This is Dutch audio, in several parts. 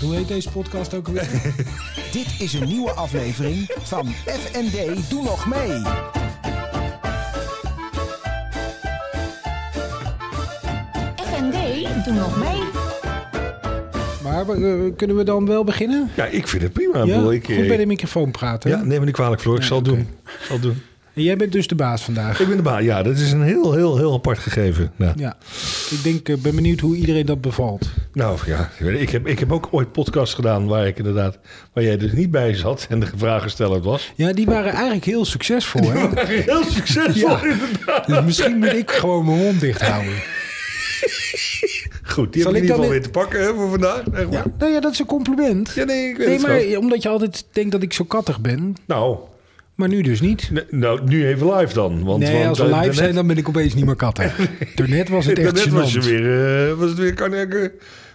Hoe heet deze podcast ook weer? Dit is een nieuwe aflevering van FND Doe Nog Mee. FND, doe nog mee. maar we, eh, kunnen we dan wel beginnen? Ja, ik vind het prima. Ik Ja, bedoel, goed ik, eh, bij de microfoon praten. hè? ja, neem me niet kwalijk, Floor. Ik Nee, zal het oké. doen. Ik zal het doen. En jij bent dus de baas vandaag. Ik ben de baan. Ja, dat is een heel, heel, heel apart gegeven. Nou, Ja. Ja, ik denk, eh, ben benieuwd hoe iedereen dat bevalt. Nou ja, ik weet- ik heb, ik heb ook ooit podcasts gedaan waar ik inderdaad, waar jij dus niet bij zat en de vragensteller was. Ja, die waren eigenlijk heel succesvol. Hè? Heel succesvol. Ja. inderdaad. Dus misschien moet ik gewoon mijn mond dicht houden. Goed, die Zal heb ik in ik dan ieder geval in- weer te pakken hè, voor vandaag. Echt Ja, waar. nou ja, dat is een compliment. Ja, nee, ik weet Nee, het maar wel. omdat je altijd denkt dat ik zo kattig ben, Nou, maar nu dus niet. n- nou, nu even live dan. Want, nee, want, als we eh, live daarnet- zijn, dan ben ik opeens niet meer kattig. Daarnet was het echt Daarnet was je gênant. weer, eh, was het weer kan,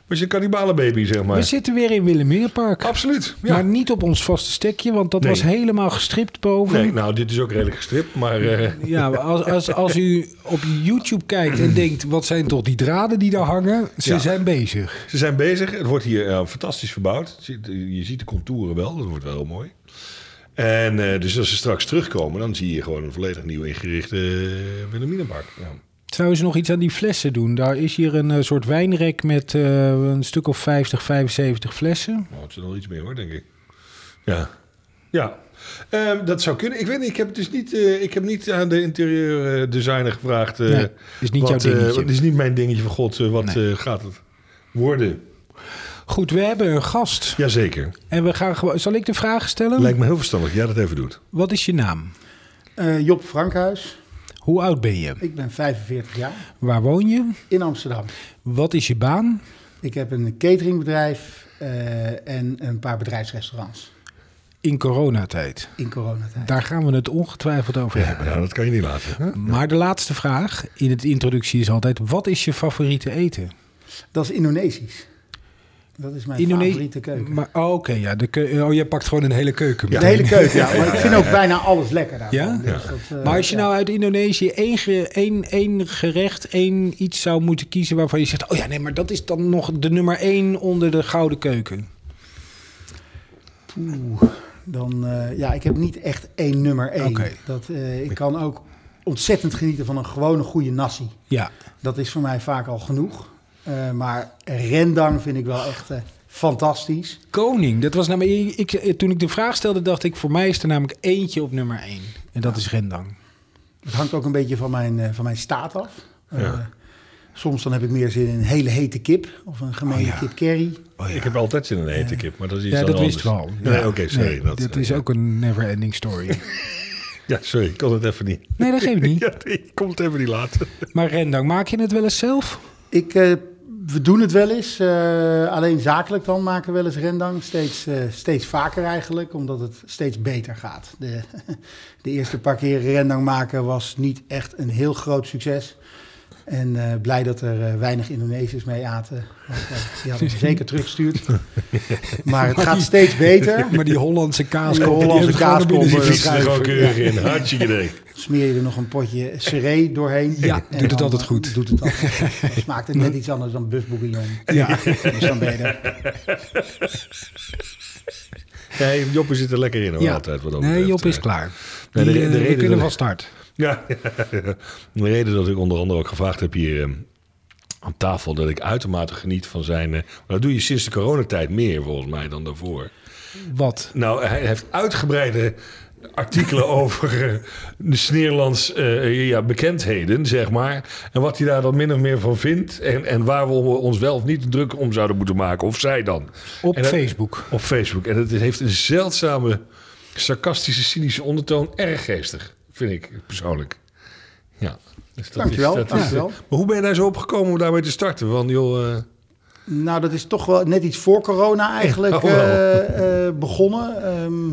was je een kannibalenbaby, zeg We maar. zitten weer in Wilhelminapark. Absoluut. Ja. Maar niet op ons vaste stekje, want dat Nee. was helemaal gestript boven. Nee, nou, dit is ook redelijk gestript, maar... eh, Ja, maar als, als, als u op YouTube kijkt en denkt, wat zijn toch die draden die daar hangen? Ze Ja. zijn bezig. Ze zijn bezig. Het wordt hier eh, fantastisch verbouwd. Je ziet- Je ziet de contouren wel. Dat wordt wel heel mooi. En eh, dus als ze straks terugkomen, dan zie je gewoon een volledig nieuw ingerichte uh, Wilhelminapark. Ja. Zouden ze nog iets aan die flessen doen? Daar is hier een eh, soort wijnrek met eh, een stuk of 50, 75 flessen. Nou, het is er nog iets meer hoor, denk ik. Ja. Ja. Ehm, dat zou kunnen. Ik weet niet, ik heb het dus niet, eh, ik heb niet aan de interieurdesigner gevraagd. eh, Nee, het is niet wat, jouw dingetje. eh, wat- het is niet mijn dingetje van God. eh, wat eh, gaat het worden? Goed, we hebben een gast. Jazeker. En we gaan gewoon... Zal ik de vraag stellen? Lijkt me heel verstandig. Ja, dat even doet. Wat is je naam? Eh, Job Frankhuis, Hoe oud ben je? ik ben 45 jaar, Waar woon je? in Amsterdam. Wat is je baan? Ik heb een cateringbedrijf eh, en een paar bedrijfsrestaurants In coronatijd. in coronatijd. Daar gaan we het ongetwijfeld over hebben. Ja, dat kan je niet laten. Maar de laatste vraag in het introductie is altijd: wat is je favoriete eten? Dat is Indonesisch. Dat is mijn Indone- favoriete keuken. Maar, oh, oké, ja. De keu- oh, jij pakt gewoon een hele keuken. De mee. hele keuken, ja. Maar ik vind ook bijna alles lekker daarvan. Ja? Dus dat, eh, Maar als je ja. nou uit Indonesië één, ge- één, één gerecht, één iets zou moeten kiezen waarvan je zegt: oh ja, nee, maar dat is dan nog de nummer één onder de gouden keuken. Oeh, dan, eh, ja, ik heb niet echt één nummer één. Oké. Dat, eh, ik kan ook ontzettend genieten van een gewone goede nasi. Ja, Dat is voor mij vaak al genoeg. Eh, maar rendang vind ik wel echt eh, fantastisch. koning. Dat was namelijk, ik, ik- toen ik de vraag stelde, dacht ik: voor mij is er namelijk eentje op nummer één. En dat is rendang. Het hangt ook een beetje van mijn, eh, van mijn staat af. Eh, soms dan heb ik meer zin in een hele hete kip of een gemene Oh, ja. kip curry. Ik heb altijd zin in een hete kip, maar dat is iets Ja, dat dan wist we al. anders. Ja. Nee, oké, sorry. Nee, dat eh, dit is ook een never-ending story. Ja, sorry, ik kon het even niet. Nee, dat geeft niet. Ja, nee, ik kon het even niet laten. Maar rendang, maak je het wel eens zelf? Ik, eh, we doen het wel eens, eh, alleen zakelijk dan maken we wel eens rendang. Steeds, eh, steeds vaker eigenlijk, omdat het steeds beter gaat. De, de eerste paar keer rendang maken was niet echt een heel groot succes. En eh, blij dat er eh, weinig Indonesiërs mee aten. Want, eh, die hadden ze zeker teruggestuurd. Maar het gaat steeds beter. Maar die Hollandse kaas. Die Hollandse kaaskoppen, Die Eh, fietsen er gewoon schuiven, keurig in. Hartje idee. smeer je er nog een potje seré doorheen. Ja, En doet het dan eh, altijd goed. Doet het altijd goed. Dan smaakt het net iets anders dan busboekenjong. Ja. Dus dan ben je er. Nee, Joppe zit er lekker in hoor, Ja. altijd. Wat dat nee, betreft. Job is Eh, klaar. Nee, de Die, re- eh, de we reden kunnen dat- van start. Ja, de reden dat ik onder andere ook gevraagd heb hier eh, aan tafel... dat ik uitermate geniet van zijn... eh, maar dat doe je sinds de coronatijd meer volgens mij dan daarvoor. Wat? Nou, hij heeft uitgebreide artikelen over eh, de Sneerlands eh, ja, bekendheden, zeg maar. En wat hij daar dan min of meer van vindt. En, en waar we ons wel of niet druk om zouden moeten maken. Of zij dan. Op En dat- Facebook. Op Facebook. En het heeft een zeldzame, sarcastische, cynische ondertoon. Erg geestig, vind ik persoonlijk. Ja. Dus dat Dankjewel, dat dankjewel. maar hoe ben je daar zo opgekomen om daarmee te starten? Want joh, eh, Nou, dat is toch wel net iets voor corona eigenlijk Oh, wel. eh, eh, begonnen. Ehm,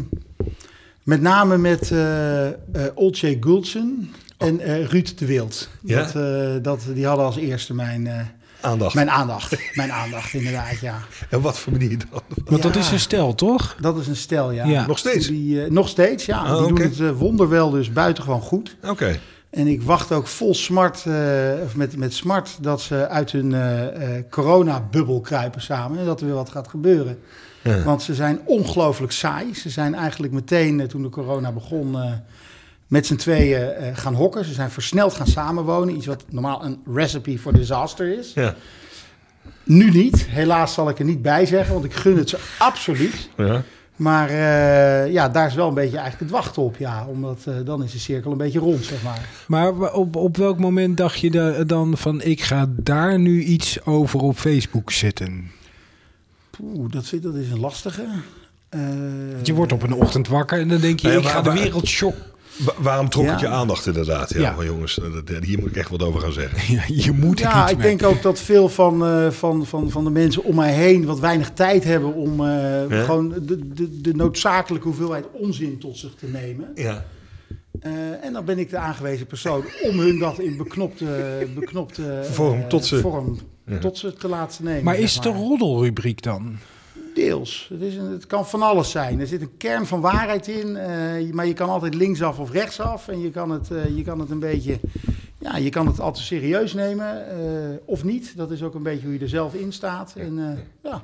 met name met eh eh Olcay Gultsen en eh, Ruud de Wild. Ja? Dat, eh, dat, die hadden als eerste mijn, eh, aandacht. mijn aandacht. mijn aandacht, inderdaad, ja. En wat voor manier dan? Want dat Ja. is een stel, toch? Dat is een stel, ja. Ja. Oh, Nog steeds? Die, eh, nog steeds, ja. Ah, die oké. doen het eh, wonderwel dus buitengewoon goed. Oké. En ik wacht ook vol smart, eh, of met, met smart, dat ze uit hun eh, eh, coronabubbel kruipen samen. En dat er weer wat gaat gebeuren. Want ze zijn ongelooflijk saai. Ze zijn eigenlijk meteen, eh, toen de corona begon, eh, met z'n tweeën eh, gaan hokken. Ze zijn versneld gaan samenwonen. Iets wat normaal een recipe for disaster is. Ja. Nu niet. Helaas zal ik er niet bij zeggen, want ik gun het ze absoluut. Ja. Maar eh, ja, daar is wel een beetje eigenlijk het wachten op. Ja, omdat eh, dan is de cirkel een beetje rond, zeg maar. Maar wa- op, op welk moment dacht je da- dan van ik ga daar nu iets over op Facebook zetten? Poeh, dat, vind, dat is een lastige. Eh, Want je wordt op een ochtend wakker en dan denk je Nee, ik maar- ga de maar- wereld shock. Wa- waarom trok Ja. het je aandacht inderdaad? Ja, Ja. van jongens, eh, dat- hier moet ik echt wat over gaan zeggen. Ja, je moet er ja, iets ik mee. denk ook dat veel van, eh, van, van, van de mensen om mij heen wat weinig tijd hebben om eh, Ja. gewoon de, de, de noodzakelijke hoeveelheid onzin tot zich te nemen. Ja. Eh, en dan ben ik de aangewezen persoon om hun dat in beknopte, beknopte eh, Vorm tot ze- vorm tot ze te laten nemen. Maar zeg is het een roddelrubriek dan? Deels. Het, is een, het kan van alles zijn. Er zit een kern van waarheid in. eh, maar je kan altijd linksaf of rechtsaf. En je kan het, eh, je kan het een beetje. Ja, je kan het altijd serieus nemen. eh, of niet. Dat is ook een beetje hoe je er zelf in staat. En eh, ja.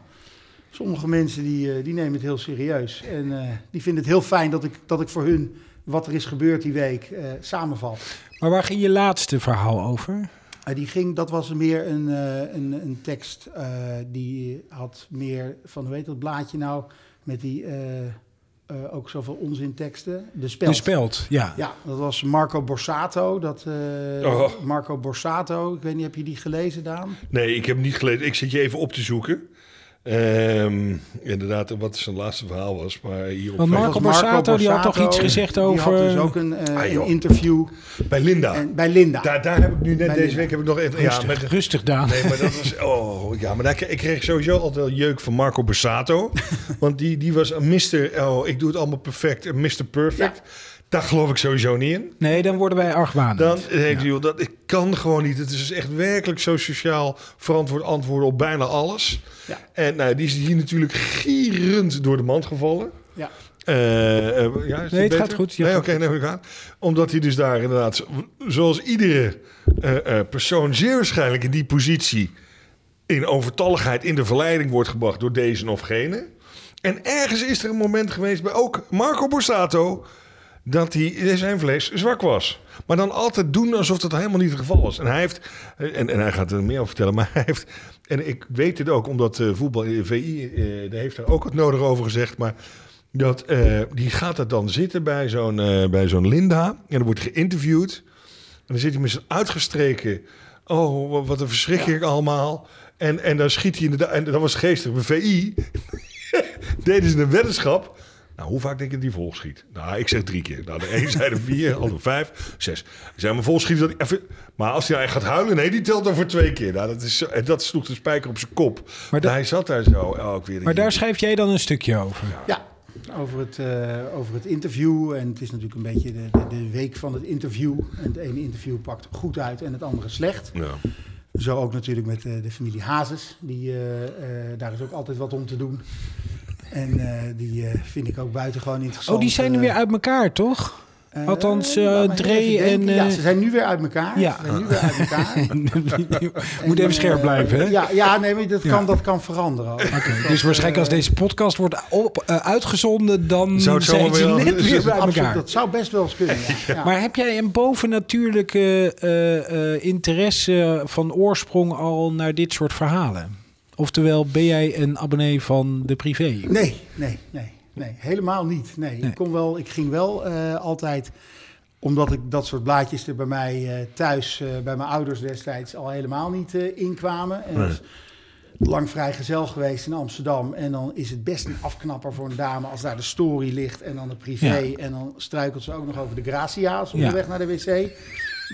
Sommige mensen die, eh, die nemen het heel serieus. En eh, die vinden het heel fijn dat ik, dat ik voor hun wat er is gebeurd die week eh, samenvat. Maar waar ging je laatste verhaal over? Eh, die ging, dat was meer een, eh, een, een tekst eh, die had meer van, hoe heet dat blaadje nou? Met die eh, eh, ook zoveel onzinteksten. De spel. De speld, ja. Ja, dat was Marco Borsato. Dat, eh, Oh. Marco Borsato, ik weet niet, heb je die gelezen, Daan? Nee, ik heb hem niet gelezen. Ik zit je even op te zoeken. Ehm, inderdaad, wat zijn laatste verhaal was. Maar hier op Want Facebook- Marco Borsato, die had toch iets gezegd over- Die had dus ook een, eh, Ah, joh. een interview bij Linda. en, bij Linda. daar, daar heb ik nu net Bij deze Linda. week heb ik nog even. Ja, Rustig, met, rustig Daan. nee, maar dat was. Oh ja, maar daar, ik kreeg sowieso altijd wel jeuk van Marco Borsato. want die, die was een Mr. Oh, ik doe het allemaal perfect. Een Mr. Perfect. Daar geloof ik sowieso niet in. Nee, dan worden wij argwanend. Dan denk ik, joh, dat ik kan gewoon niet. Het is dus echt werkelijk zo sociaal verantwoord antwoorden op bijna alles. Ja. En nou, die is hier natuurlijk gierend door de mand gevallen. Ja. Eh, eh, ja, is Nee, het beter? gaat goed. Ja, nee, gaat oké, nee, we gaan. Omdat hij dus daar inderdaad, zo- zoals iedere eh, eh, persoon, zeer waarschijnlijk in die positie in overtalligheid in de verleiding wordt gebracht door deze of gene. En ergens is er een moment geweest bij ook Marco Borsato dat hij in zijn vlees zwak was. Maar dan altijd doen alsof dat helemaal niet het geval was. En hij heeft, en, en hij gaat er meer over vertellen, maar hij heeft, en ik weet dit ook omdat eh, voetbal eh, VI, eh, daar heeft daar ook het nodig over gezegd, maar dat, eh, die gaat er dan zitten bij zo'n eh, bij zo'n Linda en dan wordt geïnterviewd. En dan zit hij met zijn uitgestreken. Oh, wa- wat een verschrikking allemaal. En, en dan schiet hij inderdaad. En dat was geestig. Bij VI deden ze een weddenschap. Nou, hoe vaak denk je dat hij vol schiet? Nou, ik zeg drie keer. Nou, de een zei er vier, de ander vijf, zes. Zijn we vol schieten? Dat even... Maar als hij nou echt gaat huilen, nee, die telt dan voor twee keer. Nou, dat, is zo- en dat sloeg de spijker op zijn kop. Maar Maar dat- hij zat daar zo elk weer. Maar daar schrijf jij dan een stukje over. Ja, over het, eh, over het interview. En het is natuurlijk een beetje de, de, de week van het interview. En het ene interview pakt goed uit en het andere slecht. Ja. Zo ook natuurlijk met eh, de familie Hazes. Die, eh, eh, daar is ook altijd wat om te doen. En eh, die eh, vind ik ook buitengewoon interessant. Oh, die zijn er Eh, weer uit elkaar, toch? eh, althans, eh, laat me Dre even denken. en, Ja, eh, ze zijn nu weer uit elkaar. Ja. Ze zijn nu weer uit elkaar. Moet En, even scherp eh, blijven, hè? Ja, ja nee, maar dat, Ja. Kan, dat kan veranderen. ook. Eh, Oké, dus waarschijnlijk als deze podcast wordt op, eh, uitgezonden, dan Zou het zomaar zijn ze weer- net weer bij Absoluut, elkaar. dus dat zou best wel eens kunnen. ja. Ja. Maar heb jij een bovennatuurlijke eh, eh, interesse van oorsprong al naar dit soort verhalen? Oftewel, ben jij een abonnee van de privé? Nee, nee, nee, nee. Helemaal niet. Nee, Nee. Ik, kon wel, ik ging wel eh, altijd, omdat ik dat soort blaadjes er bij mij eh, thuis, eh, bij mijn ouders destijds, al helemaal niet eh, inkwamen. En was lang vrijgezel geweest in Amsterdam. En dan is het best een afknapper voor een dame als daar de story ligt en dan de privé. Ja. En dan struikelt ze ook nog over de Gracia's op Ja. de weg naar de wc.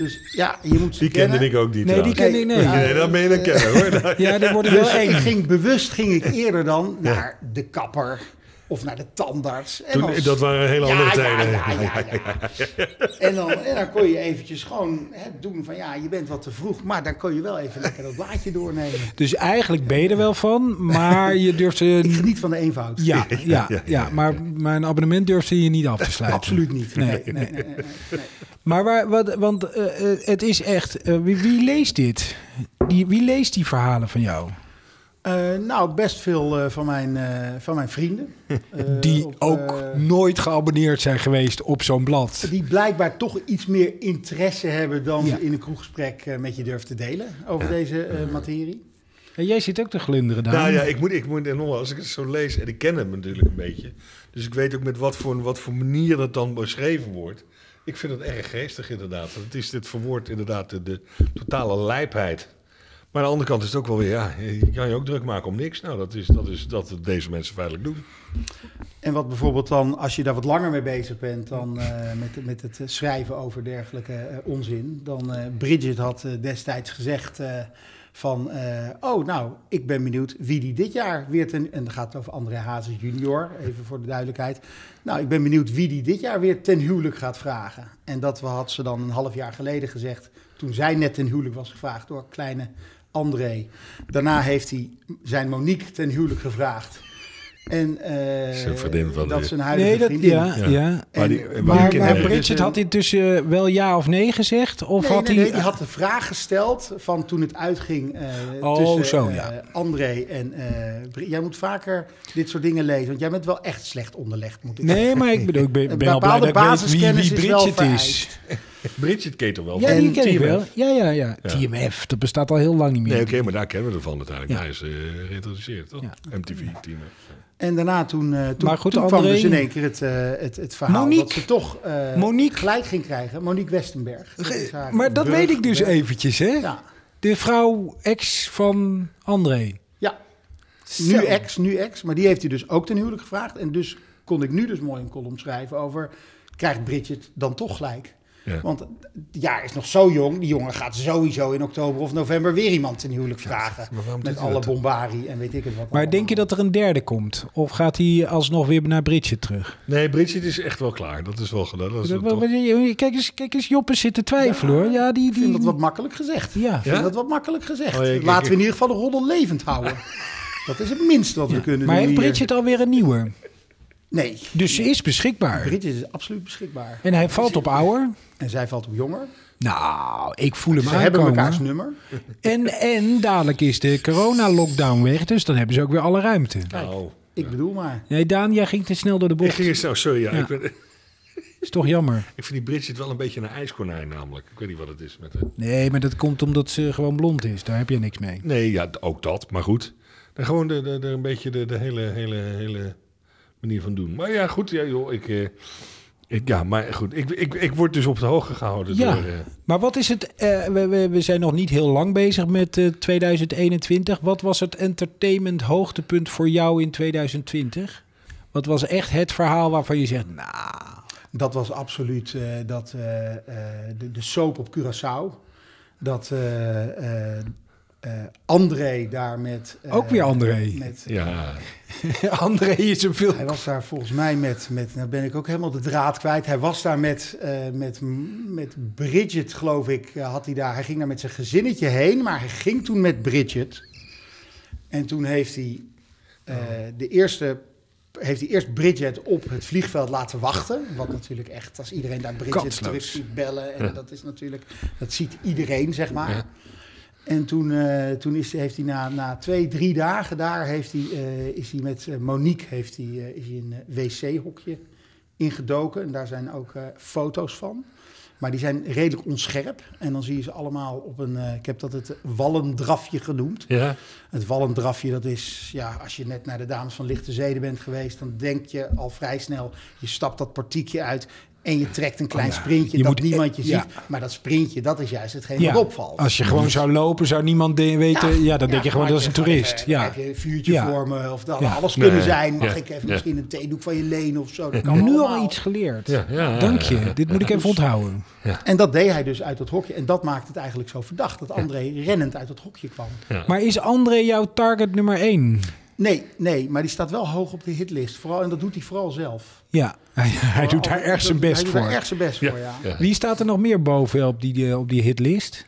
Dus ja, je moet ze Die kennen. kende ik ook niet. Nee, die trouwens. ken ik Nee. niet. Nee, dat ben je dan kennen hoor. Nou, Ja, dat wordt heel Dus ik eng. ging bewust ging ik eerder dan naar de kapper. Of naar de tandarts. En Toen, als- dat waren hele andere ja, tijden. Ja, ja, ja, ja. En, dan, en dan kon je eventjes gewoon hè, doen van ja, je bent wat te vroeg, maar dan kon je wel even lekker dat blaadje doornemen. Dus eigenlijk ben je er wel van, maar je durft... eh, Ik geniet van de eenvoud. ja, ja, ja, ja, maar mijn abonnement durfde je niet af te sluiten. Absoluut niet. Nee, nee. Maar waar, wat, want eh, eh, het is echt, eh, wie, wie leest dit? Die, wie leest die verhalen van jou? Eh, nou, best veel eh, van, mijn, eh, van mijn vrienden. Eh, Die op, ook eh, nooit geabonneerd zijn geweest op zo'n blad. die blijkbaar toch iets meer interesse hebben dan Ja. ze in een kroeggesprek eh, met je durft te delen over deze eh, materie. En jij zit ook te glunderen daar. Nou ja, ik moet, ik moet en nogmaals, als ik het zo lees, en ik ken hem natuurlijk een beetje. Dus ik weet ook met wat voor, wat voor manier dat dan beschreven wordt. Ik vind het erg geestig inderdaad. Want het is dit verwoord inderdaad de, de totale lijpheid. Maar aan de andere kant is het ook wel weer, ja, je kan je ook druk maken om niks. Nou, dat is dat, is, dat deze mensen feitelijk doen. En wat bijvoorbeeld dan, als je daar wat langer mee bezig bent dan eh, met, met het eh, schrijven over dergelijke eh, onzin, dan eh, Bridget had eh, destijds gezegd eh, van, eh, oh nou, ik ben benieuwd wie die dit jaar weer ten, en dan gaat het over André Hazes junior, even voor de duidelijkheid. Nou, ik ben benieuwd wie die dit jaar weer ten huwelijk gaat vragen. En dat had ze dan een half jaar geleden gezegd, toen zij net ten huwelijk was gevraagd door kleine André. Daarna heeft hij zijn Monique ten huwelijk gevraagd. En eh, Zijn vriendin van dat de- is een huidige nee, dat, vriendin. ja, ja. Ja. Maar die- En- maar die Maar, kinderen- maar dus, Bridget eh, had intussen wel ja of nee gezegd? Of nee, had nee, hij... nee, die had de vraag gesteld van toen het uitging eh, Oh, tussen zo, eh, ja. André en... eh, Bri- jij moet vaker dit soort dingen lezen, want jij bent wel echt slecht onderlegd, moet ik Nee, maar ik bedoel, ik ben, Een ben al blij dat ik bepaalde weet wie, wie basiskennis is wel Bridget is. vereist. Bridget Ketel wel. Ja, van die ken ik TMF. wel. Ja, ja, ja. TMF, dat bestaat al heel lang niet meer. Nee, oké, maar daar kennen we ervan uiteindelijk. Ja. Hij is eh, geïntroduceerd, toch? Ja. MTV, team. En daarna toen, eh, toen, Maar goed, toen André- kwam dus in één keer het, eh, het, het verhaal dat Monique. ze toch eh, Monique. gelijk ging krijgen. Monique Westenberg. Dat is haar Maar dat brug- weet ik dus brug- eventjes, hè? Ja, De vrouw ex van André. ja. Zo. nu ex, nu ex. Maar die heeft hij dus ook ten huwelijk gevraagd. En dus kon ik nu dus mooi een column schrijven over... krijgt Bridget dan toch gelijk? Ja. Want het jaar is nog zo jong. Die jongen gaat sowieso in oktober of november weer iemand ten huwelijk vragen. maar waarom met doet hij alle dat dan? bombarie en weet ik het wat. Maar denk je dat er een derde komt? Of gaat hij alsnog weer naar Bridget terug? Nee, Bridget is echt wel klaar. Dat is wel gedaan. Dat is Dat- toch- wat- wat- Kijk eens, kijk eens Joppe zit te twijfelen, hoor. Ja, die... Ik vind die dat wat makkelijk gezegd. ja. Ik vind dat wat makkelijk gezegd. Oh, ja, ik- Laten ik- we in ieder geval de roddel levend houden. dat is het minste wat we kunnen Maar doen heeft hier. Bridget alweer een nieuwe? Nee, Dus ze is beschikbaar. Bridget is absoluut beschikbaar. En hij valt op ouder. En zij valt op jonger. Nou, ik voel hem Ze hebben mekaars aankomen. nummer. En, en dadelijk is de corona-lockdown weg, dus dan hebben ze ook weer alle ruimte. Nou, Ik bedoel maar. Nee, Daan, jij ging te snel door de ik bocht. ging eens, nou, sorry, ja, Ja. Ik, ben, Is toch jammer. ik vind die Bridget wel een beetje een ijskonijn namelijk. Ik weet niet wat het is met de... Nee, maar dat komt omdat ze gewoon blond is. Daar heb je niks mee. Nee, ja, d- ook dat, maar goed. Dan gewoon de, de, de- een beetje de, de hele, hele, hele manier van doen. Maar ja, goed, ja, joh, ik, eh, ik... Ja, maar goed, ik, ik, ik word dus op de hoogte gehouden Ja. door... eh, Maar wat is het? eh, we, we, we zijn nog niet heel lang bezig met eh, 2021. Wat was het entertainment hoogtepunt voor jou in 2020? Wat was echt het verhaal waarvan je zegt, nou, Dat was absoluut eh, dat, eh, eh, de, de soap op Curaçao. Dat eh, eh, eh, André daar met... eh, Ook weer André. Met, ja, André is een veel... Hij was daar volgens mij met, met, nou ben ik ook helemaal de draad kwijt. Hij was daar met, eh, met, met Bridget, geloof ik, eh, had hij daar. Hij ging daar met zijn gezinnetje heen, maar hij ging toen met Bridget. En toen heeft hij eh, de eerste, heeft hij eerst Bridget op het vliegveld laten wachten. Wat natuurlijk echt, als iedereen daar Bridget Kansloos. terug ziet bellen. En dat is natuurlijk, dat ziet iedereen, zeg maar. En toen, eh, toen is, heeft hij na, na twee, drie dagen daar, heeft hij, eh, is hij met eh, Monique heeft hij, eh, is hij een eh, wc-hokje ingedoken. En daar zijn ook eh, foto's van. Maar die zijn redelijk onscherp. En dan zie je ze allemaal op een, eh, ik heb dat het wallendrafje genoemd. ja. Het wallendrafje, dat is, ja, als je net naar de Dames van Lichte Zeden bent geweest, dan denk je al vrij snel, je stapt dat portiekje uit en je trekt een klein sprintje Oh Je dat moet- e- niemand je ja. ziet. Maar dat sprintje, dat is juist hetgeen Ja, wat opvalt. Dus als je gewoon zou lopen, zou niemand de- weten... Ja, dan denk je gewoon, maak dat is een toerist. even- ja. Heb je een vuurtje Ja. voor me? Of dat Ja. alles Nee, kunnen zijn. Mag ja, ik even ja. misschien een theedoek van je lenen of zo? Dat kan Nu al allemaal. iets geleerd. Ja, ja, ja, Dank je. ja, ja. Dit moet ik even onthouden. En dat deed hij dus uit dat hokje. En dat maakt het eigenlijk zo verdacht. Dat André rennend uit dat hokje kwam. Maar is André jouw target nummer één? Nee, nee, maar die staat wel hoog op de hitlist. Vooral, en dat doet hij vooral zelf. Ja, hij, hij doet daar Al- erg zijn Hij best doet voor. daar erg zijn best voor, ja. ja. Wie staat er nog meer boven op die, eh, op die hitlist?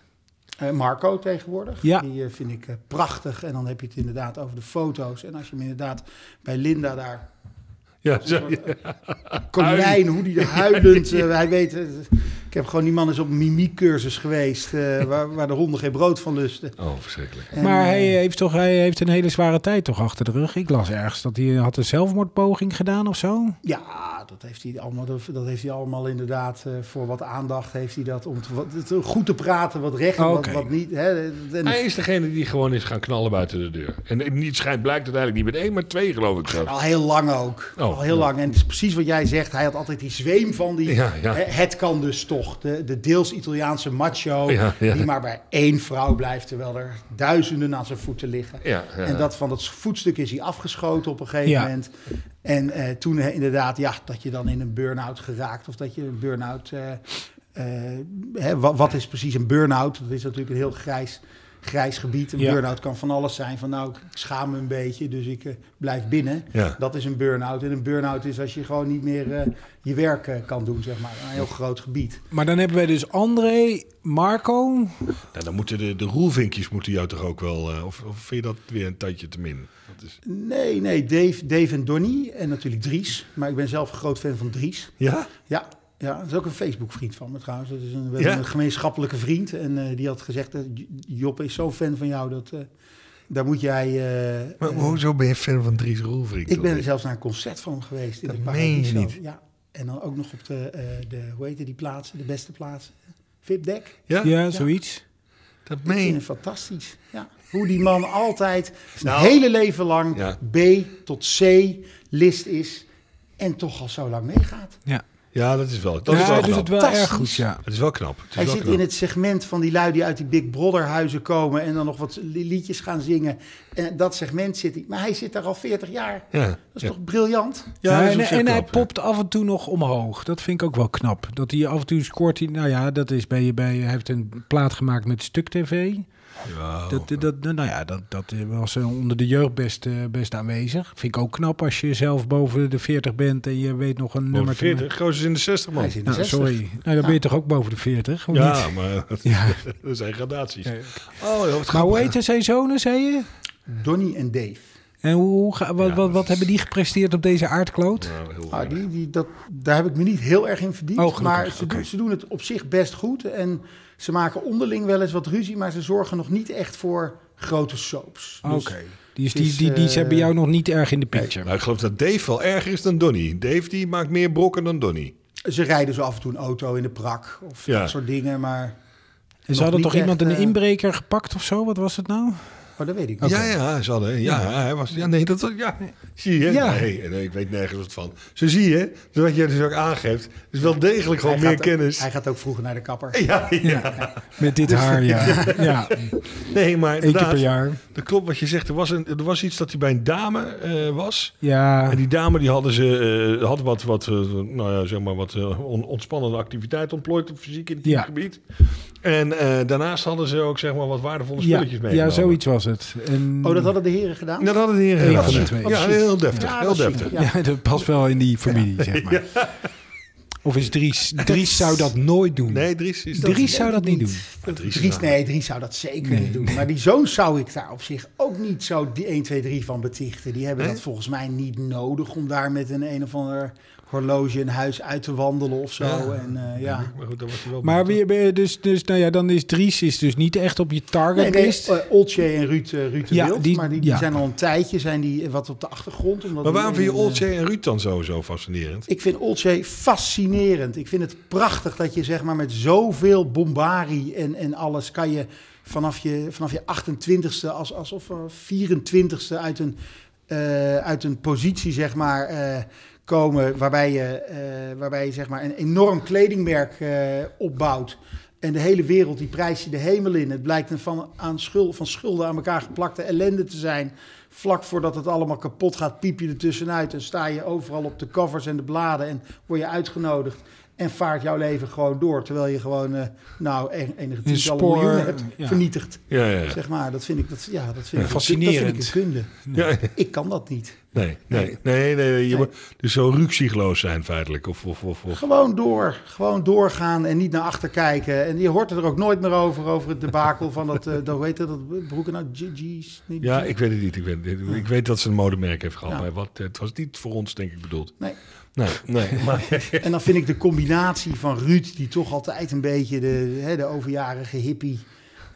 Eh, Marco tegenwoordig, Ja. die eh, vind ik eh, prachtig. En dan heb je het inderdaad over de foto's. En als je hem inderdaad bij Linda daar... Ja, zo- ja. Konijn, hoe die er huilend... eh, hij weet, eh, ik heb gewoon die man is op een mimiekcursus geweest... eh, waar, waar de honden geen brood van lusten. Oh, verschrikkelijk. En, maar eh, hij heeft, toch, hij heeft een hele zware tijd toch achter de rug. Ik las ergens dat hij had een zelfmoordpoging gedaan of zo. Ja, dat heeft hij allemaal, dat heeft hij allemaal inderdaad eh, voor wat aandacht heeft hij dat om te, wat, te- goed te praten, wat recht en Oh, Oké. wat, wat niet. Hè. En- Hij is degene die gewoon is gaan knallen buiten de deur. En niet schijnt blijkt uiteindelijk niet met één, maar twee geloof ik zo. al heel lang ook. Oh, al heel ja. lang. En het is precies wat jij zegt. Hij had altijd die zweem van die. Ja, ja. hè, Het kan dus toch. De, de deels Italiaanse macho. Ja, ja. Die maar bij één vrouw blijft. Terwijl er duizenden aan zijn voeten liggen. Ja, ja. En dat van dat voetstuk is hij afgeschoten op een gegeven Ja. moment. En eh, toen eh, inderdaad, ja, dat je dan in een burn-out geraakt. Of dat je een burn-out. eh, eh, hè, wa- wat, is precies een burn-out? Dat is natuurlijk een heel grijs, grijs gebied. Een Ja. burn-out kan van alles zijn. Van nou, ik schaam me een beetje, dus ik eh, blijf binnen. Ja. Dat is een burn-out. En een burn-out is als je gewoon niet meer eh, je werk eh, kan doen, zeg maar. Een heel groot gebied. Maar dan hebben wij dus André, Marco. Nou, dan moeten de, de roelvinkjes moeten jou toch ook wel... eh, of, of vind je dat weer een tandje te min? Dat is, Nee, nee, Dave, Dave en Donnie en natuurlijk Dries. Maar ik ben zelf een groot fan van Dries. ja? Ja, ja, dat is ook een Facebook-vriend van me trouwens. Dat is een, we Ja? hebben een gemeenschappelijke vriend. En eh, die had gezegd, eh, J- Job is zo'n fan van jou, dat, eh, daar moet jij... eh, Maar hoezo ben je fan van Dries Roelvink? Ik ben zelfs naar een concert van hem geweest. In Dat de meen je Paradiso. niet. Ja. En dan ook nog op de, eh, de hoe heet die plaatsen, de beste plaatsen. VIP-deck. Ja? Ja, zoiets. Dat Ik vind meen het fantastisch. Ja. Hoe die man altijd zijn Nou, hele leven lang ja. B tot C list is. En toch al zo lang meegaat. Ja, Ja, dat is wel, dat Ja, is wel hij doet knap. het wel erg goed, Fantastisch. ja. Dat is wel knap. Het is Hij wel zit knap. in het segment van die lui die uit die Big Brother huizen komen. En dan nog wat li- liedjes gaan zingen. En dat segment zit hij. Maar hij zit daar al 40 jaar. Ja. Dat is Ja. toch briljant? Ja, dat is en, op zich en hij knap, ja. popt af en toe nog omhoog. Dat vind ik ook wel knap. Dat hij af en toe scoort. Hij, nou ja, dat is bij je bij. Hij heeft een plaat gemaakt met Stuk TV. Dat, dat, nou ja, dat, dat was eh, onder de jeugd best, eh, best aanwezig. Vind ik ook knap als je zelf boven de 40 bent en je weet nog een nummer. Nummer te maken. 40, gozer is in de 60 man. Hij zit in de Nou, 60. sorry. Nou, dan Ah. ben je toch ook boven de 40? Of Ja, niet? maar dat, Ja. dat zijn gradaties. Nee. Oh, joh, wat Maar hoe grappig. heette zijn zonen, zei je? Donnie en Dave. En hoe, hoe ga- wat, Ja, wat, dat wat is- hebben die gepresteerd op deze aardkloot? Nou, heel Ah, erg. die, die, dat, daar heb ik me niet heel erg in verdiend. Oh, gelukkig, maar ze, oké. doen, ze doen het op zich best goed. En ze maken onderling wel eens wat ruzie, maar ze zorgen nog niet echt voor grote soaps. Oké. Dus Die, is- het die, is, die, die, eh, hebben jou nog niet erg in de picture. Nou, ik geloof dat Dave wel erger is dan Donny. Dave die maakt meer brokken dan Donny. Ze rijden zo af en toe een auto in de prak of Ja. dat soort dingen. Maar En ze Nog hadden niet toch iemand echt, een eh, inbreker gepakt of zo? Wat was het nou? oh, dat weet ik niet. Ja, ja, ze hadden. Ja, hij was. Ja, nee, dat was. Ja, zie je? Ja. Nee, nee, ik weet nergens wat van. Zo zie je, dus wat jij dus ook aangeeft, is wel degelijk gewoon Hij meer gaat- kennis. Hij gaat ook vroeger naar de kapper. Ja, ja. Met dit Dus- haar, ja. ja. Eén Nee, maar keer per inderdaad, jaar. dat klopt wat je zegt. Er was, een, er was iets dat hij bij een dame eh, was. Ja. En die dame die hadden ze, eh, had wat, wat, eh, nou ja, zeg maar wat eh, on- ontspannende activiteit ontplooid op fysiek in het Ja. gebied. En eh, daarnaast hadden ze ook zeg maar, wat waardevolle Ja, spulletjes mee. ja, zoiets was het. En, Oh, dat hadden de heren gedaan? Dat hadden die heren Eén gedaan. van de twee. Ja, heel deftig. Ja, heel dat is deftig. chic, ja. dat past wel in die familie, zeg maar. Of is Dries... Dries zou dat nooit doen. Nee, Dries is dat. Dries zou dat niet doen. Maar Dries is Dries, nou- nee, Dries zou dat zeker niet doen. Maar die zoon zou ik daar op zich ook niet zo die 1, 2, 3 van betichten. Die hebben dat volgens mij niet nodig om daar met een een of ander horloge in huis uit te wandelen of zo. En, eh, ja. Maar goed, dan was hij wel Maar benieuwd. wie, wie- dus, dus, nou ja, dan is Dries is dus niet echt op je Nee, nee, targetlist. eh, Oltje en Ruud, eh, Ruud de Ja, Wild, die- maar die, die ja. zijn al een tijdje zijn die eh, wat op de achtergrond. Omdat Maar die waarom vind je een, eh, Olcay en Ruud dan sowieso fascinerend? Ik vind Olcay fascinerend. Ik vind het prachtig dat je zeg maar, met zoveel bombarie en, en alles kan je vanaf je, vanaf je 28ste, als, alsof er 24ste uit een, eh, uit een positie zeg maar, eh, komen waarbij je, eh, waarbij je zeg maar, een enorm kledingmerk eh, opbouwt. En de hele wereld die prijst je de hemel in. Het blijkt een van, aan schul, van schulden aan elkaar geplakte ellende te zijn. Vlak voordat het allemaal kapot gaat, piep je er tussenuit. En sta je overal op de covers en de bladen en word je uitgenodigd. En vaart jouw leven gewoon door. Terwijl je gewoon, eh, nou, en- enige tientallen spoor, miljoenen hebt ja. vernietigd. Ja, ja, ja. Zeg maar, dat vind ik, dat, ja, dat vind ik, Fascinerend. Dat vind ik een kunde. nou. Ja, ja. Ik kan dat niet. Nee, nee, nee, nee, nee, je moet dus zo ruksigloos zijn feitelijk. Of, of, of, of. Gewoon door. Gewoon doorgaan en niet naar achter kijken. En je hoort er ook nooit meer over, over het debakel van dat, eh dat hoe heet dat, dat broeken nou, Gigi's. niet Ja, Gigi's. ik weet het niet. Ik weet, het- ik weet dat ze een modemerk heeft gehad, Ja. maar wat, het was niet voor ons denk ik bedoeld. Nee. Nee, nee. Maar, En dan vind ik de combinatie van Ruud, die toch altijd een beetje de, hè, de overjarige hippie.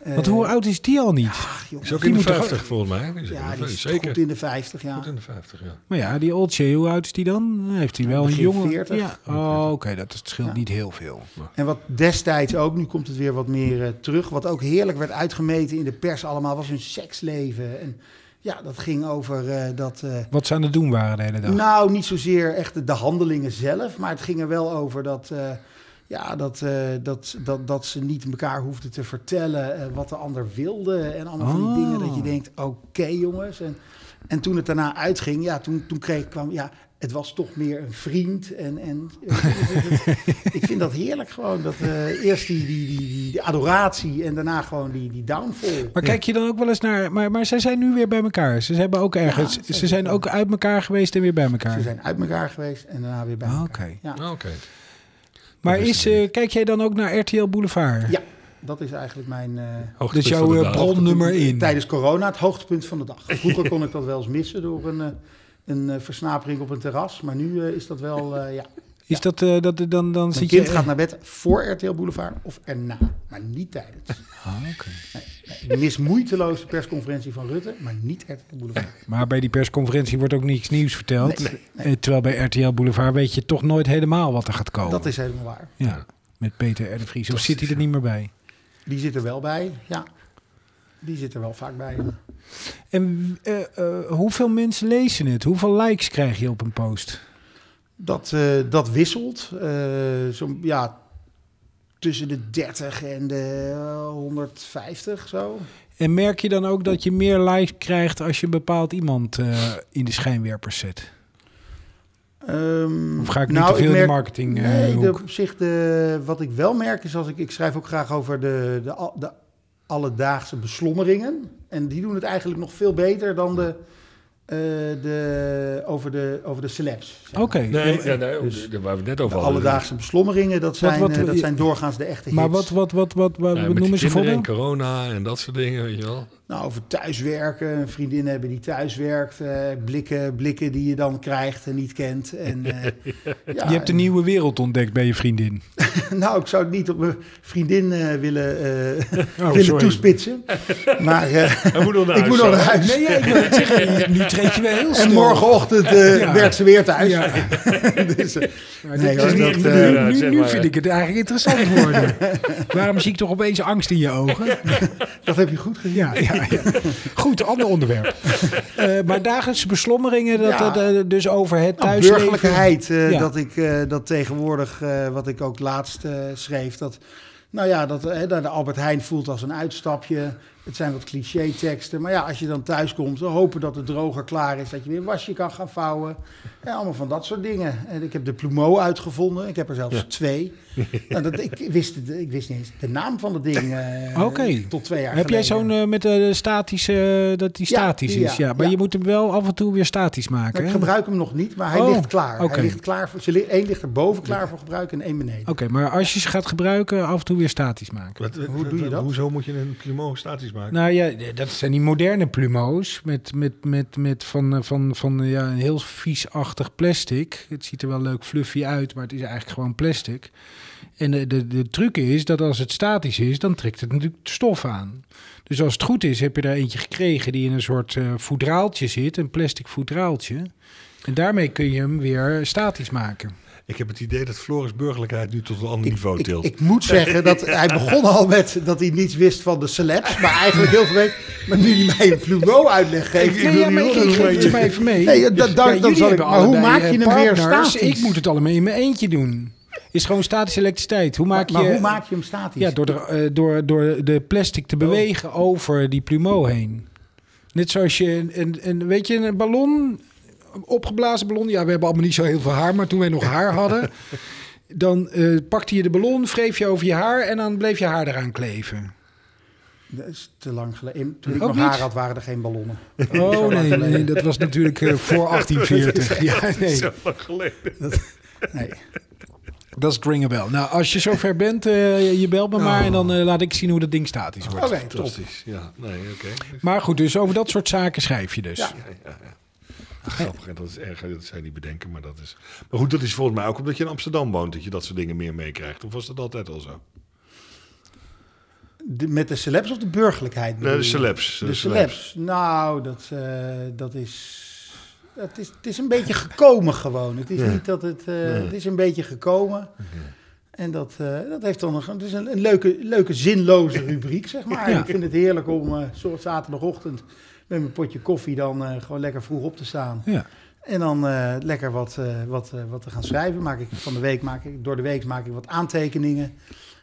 eh, Want hoe oud is die al niet? ach, joh, is ook Die in de moet toch- 50 volgens mij. Is ja, ook- die is zeker. goed in de 50 Goed jaar. in de 50, ja. Maar ja, die Olcay, hoe oud is die dan? Heeft hij wel een Begin jongen? 40. Ja. Oh, oké, dat scheelt Ja. niet heel veel. En wat destijds ook, nu komt het weer wat meer eh, terug, wat ook heerlijk werd uitgemeten in de pers allemaal, was hun seksleven. En ja, dat ging over eh, dat... eh, Wat ze aan het doen waren de hele dag. Nou, niet zozeer echt de, de handelingen zelf, maar het ging er wel over dat, eh, ja, dat, eh, dat, dat, dat ze niet elkaar hoefden te vertellen eh, wat de ander wilde en allemaal van die Oh. dingen dat je denkt, oké jongens. En, en toen het daarna uitging, ja, toen, toen kreeg, kwam, ja, het was toch meer een vriend. En, en eh, ik vind dat heerlijk gewoon, dat eh, eerst die, die, die, die, die adoratie en daarna gewoon die, die downfall. maar kijk je dan ook wel eens naar... Maar, maar zij zijn nu weer bij elkaar. Ze hebben ook ergens... Ja, ze zijn ook uit elkaar geweest en weer bij elkaar. Ze zijn uit elkaar geweest en daarna weer bij Ah, elkaar. oké. Ja. Nou, Oké. Maar Dat is is, het eh, kijk jij dan ook naar RTL Boulevard? ja, dat is eigenlijk mijn... eh, Dus jouw eh, bronnummer in. Tijdens corona het hoogtepunt van de dag. Vroeger kon ik dat wel eens missen door een, eh, een eh, versnapering op een terras. Maar nu eh, is dat wel, eh, ja. Is dat, eh, dat dan, dan Mijn zit kind je... gaat naar bed voor RTL Boulevard of erna. Maar niet tijdens. Ah, oké. Ik mis moeiteloos de persconferentie van Rutte, maar niet RTL Boulevard. Maar bij die persconferentie wordt ook niks nieuws verteld. Nee, nee, Eh, terwijl bij RTL Boulevard weet je toch nooit helemaal wat er gaat komen. Dat is helemaal waar. Ja, met Peter R. de Vries. Of zit hij er niet meer bij? Die zit er wel bij, ja. Die zit er wel vaak bij. En eh, eh, hoeveel mensen lezen het? Hoeveel likes krijg je op een post? Dat, eh, dat wisselt. eh, zo, ja, tussen de 30 en de eh, 150 zo. En merk je dan ook dat je meer likes krijgt als je een bepaald iemand eh, in de schijnwerpers zet? Ehm, Of ga ik nu te veel in de marketing, eh, nee, de, hoek? op zich de, wat ik wel merk is als ik... Ik schrijf ook graag over de, de, al- de alledaagse beslommeringen. En die doen het eigenlijk nog veel beter dan de, eh, de, over, de, over de celebs. Oké. Nee, Ja, ja, nee, oh, Dus- daar waar we het net over De hadden. alledaagse beslommeringen, dat zijn, wat- eh, dat zijn doorgaans de echte hits. Maar wat, wat, wat, wat, wat Ja, met die noemen ze kinderen en voorbeeld? corona en dat soort dingen, weet je wel. Nou, over thuiswerken, een vriendin hebben die thuiswerkt. eh, blikken, blikken die je dan krijgt en niet kent. En, eh, ja, Je hebt een en- nieuwe wereld ontdekt bij je vriendin. Nou, ik zou het niet op mijn vriendin eh, willen, eh, Oh, willen sorry. Nou, toespitsen. Maar eh, Hij moet nog naar ik moet huis, nog naar zo. huis. Nee, ja, ik wil het zeggen. Nu treed je weer heel snel. En morgenochtend eh, Ja. werkt ze weer thuis. Ja. dus, eh, Maar Nee, dit is hoor, niet dat, echt eh, bedoeld. ja, nu, zeg nu maar, vind ja. ik het eigenlijk interessant worden. Waarom zie ik toch opeens angst in je ogen? dat heb je goed gezien. Ja, ja, ja. Goed, ander onderwerp. Eh, maar dagelijkse beslommeringen, dat, Ja. dat, eh, dus over het Nou, thuisleven. burgerlijkheid, eh, Ja. dat ik eh, dat tegenwoordig, eh, wat ik ook laatst eh, schreef, dat, nou ja, dat eh, dat de Albert Heijn voelt als een uitstapje. Het zijn wat cliché-teksten, maar ja, als je dan thuis komt, dan hopen dat de droger klaar is, dat je weer een wasje kan gaan vouwen. Ja, allemaal van dat soort dingen. En ik heb de Plumeau uitgevonden, ik heb er zelfs twee. Nou, dat, ik, wist, het- ik wist niet eens de naam van dat ding eh, Oké. tot twee jaar Heb jij geleden. zo'n eh, met de statische, eh, dat die Ja, statisch die, is? ja. Ja, maar Ja. je moet hem wel af en toe weer statisch maken. Maar ik hè? gebruik hem nog niet, maar hij Oh, ligt klaar. oké. Hij ligt klaar voor, ze li- één ligt erboven klaar voor gebruik en één beneden. Oké, maar als je ze gaat gebruiken, af en toe weer statisch maken. Wat- wat- Hoe doe je dat? Hoezo moet je een plumeau statisch maken? Nou ja, dat zijn die moderne plumo's met, met, met, met van, eh, van, van eh, ja, een heel viesachtig plastic. Het ziet er wel leuk fluffy uit, maar het is eigenlijk gewoon plastic. En de, de, de truc is dat als het statisch is, dan trekt het natuurlijk de stof aan. Dus als het goed is, heb je er eentje gekregen die in een soort eh voedraaltje zit, een plastic voedraaltje. En daarmee kun je hem weer statisch maken. Ik heb het idee dat Floris burgerlijkheid nu tot een ander niveau Ik, tilt. ik moet zeggen dat hij begon al met dat hij niets wist van de celebs, maar eigenlijk heel veel weet. Maar nu hij mij een plumeau uitleg geeft. Nee, ja, maar ik, ik geef het je maar even mee. Nee, dus- ja, dat- dat- Ja, dat jullie zal ik- hebben maar hoe allebei, maak eh, je hem weer partners. statisch? Ik moet het allemaal in mijn eentje doen. Is gewoon statische elektriciteit. Hoe maak maar je... hoe maak je Oh. hem statisch? ja, door, de, eh, door, door de plastic te bewegen over die plumeau heen. Net zoals je een, een, een- weet je, een ballon, een opgeblazen ballon. Ja, we hebben allemaal niet zo heel veel haar, maar toen wij nog haar hadden... Dan eh, pakte je de ballon, wreef je over je haar en dan bleef je haar eraan kleven. Dat is te lang geleden. In- Toen ik Ook nog niet? haar had, waren er geen ballonnen. Oh nee, nee, dat was natuurlijk eh, voor 1840. Ja, nee, Zo lang geleden. Nee. dat is het ring a bell. Nou, als je zover bent, eh, je belt me maar en dan eh, laat ik zien hoe dat ding statisch wordt. Oké, top. Fantastisch. Ja, nee, oké. Maar goed, dus over dat soort zaken schrijf je dus. Grappig. En dat is erg. Dat zij niet bedenken, maar dat is. Maar goed, dat is volgens mij ook omdat je in Amsterdam woont dat je dat soort dingen meer meekrijgt. Of was dat altijd al zo? De- met de celebs of de burgerlijkheid? Nee, bedoel de je? celebs. De celebs. Nou, dat, eh, dat is... Het is, het is een beetje gekomen gewoon. Het is niet dat het... eh, Het is een beetje gekomen. En dat, eh, dat heeft dan nog... Het is een, een leuke, leuke zinloze rubriek, zeg maar. Ja. Ik vind het heerlijk om eh soort zaterdagochtend met mijn potje koffie dan eh, gewoon lekker vroeg op te staan. Ja. En dan eh, lekker wat, eh, wat, eh, wat te gaan schrijven. Maak ik, van de week maak ik, door de week maak ik wat aantekeningen.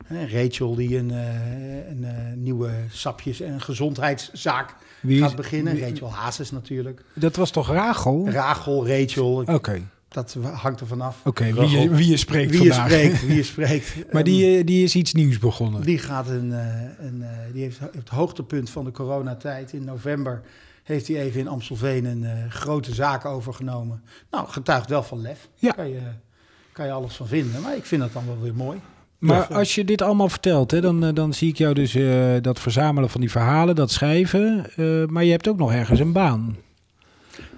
Eh, Rachel die een, eh, een eh, nieuwe sapjes- en gezondheidszaak Wie is- gaat beginnen. wie- Rachel Hazes natuurlijk. Dat was toch Rachel? Oké, Rachel, Rachel, ik- oké. dat hangt er vanaf. wie, je, wie je spreekt Wie je vandaag. spreekt, wie je spreekt. Maar die, eh, die is iets nieuws begonnen. Die, gaat een, eh, een, eh, die heeft het hoogtepunt van de coronatijd in november. Heeft hij even in Amstelveen een eh, grote zaak overgenomen. Nou, getuigt wel van lef. Ja. Kan je, kan je alles van vinden. Maar ik vind dat dan wel weer mooi. Maar als je dit allemaal vertelt, hè, dan, eh, dan zie ik jou dus eh, dat verzamelen van die verhalen, dat schrijven. eh, maar je hebt ook nog ergens een baan.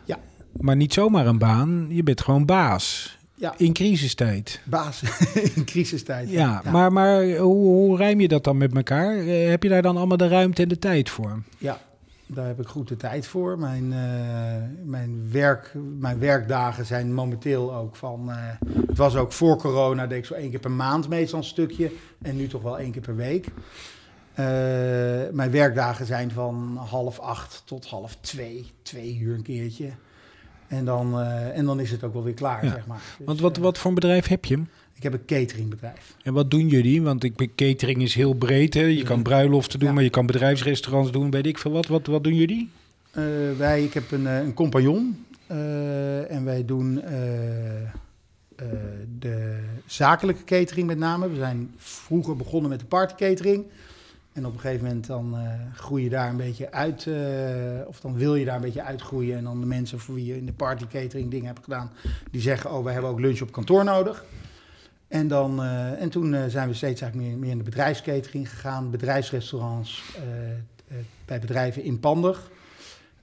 Ja. Maar niet zomaar een baan, je bent gewoon baas. Ja. In crisistijd. Baas in crisistijd. Ja, maar, maar hoe, hoe rijm je dat dan met elkaar? Eh, heb je daar dan allemaal de ruimte en de tijd voor? Ja, daar heb ik goed de tijd voor. Mijn, eh, mijn, werk, mijn werkdagen zijn momenteel ook van... eh, het was ook voor corona, deed ik zo één keer per maand meestal een stukje. En nu toch wel één keer per week. Eh, mijn werkdagen zijn van half acht tot half twee. Twee uur een keertje. En dan, eh, en dan is het ook wel weer klaar, Ja. zeg maar. Dus, Want wat, eh, wat voor een bedrijf heb je? ik heb een cateringbedrijf. En wat doen jullie? Want ik, ben- catering is heel breed. Hè? Je kan bruiloften doen, Ja. maar je kan bedrijfsrestaurants doen, weet ik veel wat. Wat, wat doen jullie? Eh, wij, ik heb een, eh, een compagnon eh, en wij doen eh, eh, de zakelijke catering met name. We zijn vroeger begonnen met de partycatering. En op een gegeven moment dan eh, groei je daar een beetje uit, eh, of dan wil je daar een beetje uitgroeien. En dan de mensen voor wie je in de partycatering dingen hebt gedaan, die zeggen, oh, wij hebben ook lunch op kantoor nodig. En, dan, eh, en toen eh, zijn we steeds eigenlijk meer, meer in de bedrijfscatering gegaan, bedrijfsrestaurants, eh, eh, bij bedrijven in pandig.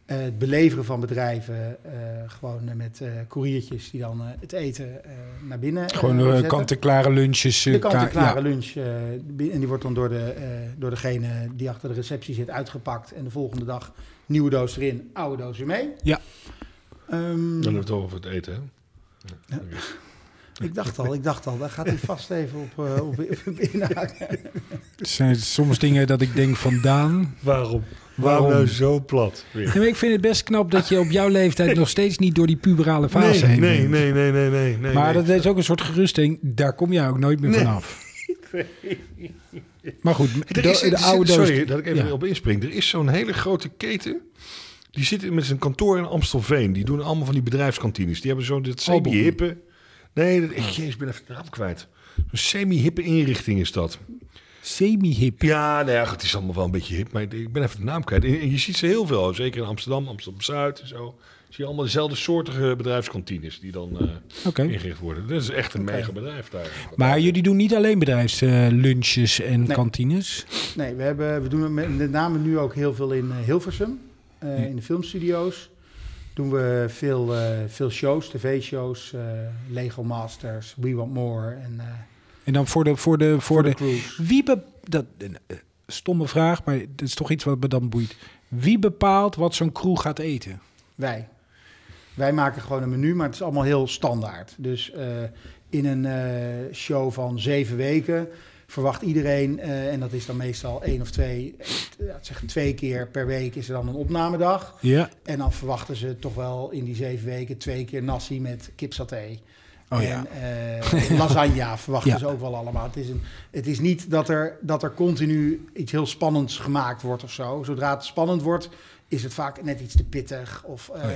Eh, het beleveren van bedrijven, eh, gewoon eh, met eh koeriertjes die dan eh, het eten eh, naar binnen eh, Gewoon eh, zetten. kant-en-klare lunches. eh, De ka- kant-en-klare ja. lunch. eh, bi- en die wordt dan door, de, eh, door degene die achter de receptie zit uitgepakt. En de volgende dag nieuwe doos erin, oude doos weer mee. Ja. Ehm, Dan hebben we het over het eten. Hè? ik dacht al, ik dacht al, daar gaat hij vast even op, eh, op, op inhaken. Het zijn soms dingen dat ik denk vandaan. Waarom? Waarom? nou zo plat? Weer? Nee, maar ik vind het best knap dat je op jouw leeftijd nog steeds niet door die puberale fase Nee, heen nee, bent. nee, nee, nee, nee, nee. Maar nee. dat is ook een soort geruststelling. Daar kom je ook nooit meer vanaf. Maar goed, Er de, is, de oude doos- sorry dat ik even Ja. op inspring. Er is zo'n hele grote keten. Die zit met zijn kantoor in Amstelveen. Die doen allemaal van die bedrijfskantines. Die hebben zo'n dat Albon. semi-hippe. Nee, dat, ik, jezus, ik ben even de naam kwijt. Een semi-hippe inrichting is dat. semi-hip. Ja, nou ja, goed, het is allemaal wel een beetje hip. Maar ik- ik ben even de naam kwijt. En- en je ziet ze heel veel. Zeker in Amsterdam, Amsterdam-Zuid en zo. Zie je allemaal dezelfde soortige bedrijfskantines die dan eh, Oké. ingericht worden. Dat is echt een mega bedrijf daar. Maar jullie doen niet alleen bedrijfslunches en Nee. kantines. Nee, we, hebben, we doen het met, met name nu ook heel veel in eh, Hilversum. eh, In de filmstudio's doen we veel, eh, veel shows, tv-shows. eh, Lego Masters, We Want More en eh, En dan voor de, voor de, voor de, cruise. Wie be- dat eh, stomme vraag, maar dat is toch iets wat me dan boeit. Wie bepaalt wat zo'n crew gaat eten? Wij. Wij maken gewoon een menu, maar het is allemaal heel standaard. Dus eh, in een eh, show van zeven weken verwacht iedereen, eh, en dat is dan meestal één of twee, eh, ja, zeg twee keer per week is er dan een opnamedag. Ja. En dan verwachten ze toch wel in die zeven weken twee keer nasi met kipsaté. Oh ja. En eh, lasagne verwachten Ja. ze ook wel allemaal. Het is, een, het is niet dat er, dat er continu iets heel spannends gemaakt wordt of zo. Zodra het spannend wordt, is het vaak net iets te pittig. Of, Oh eh,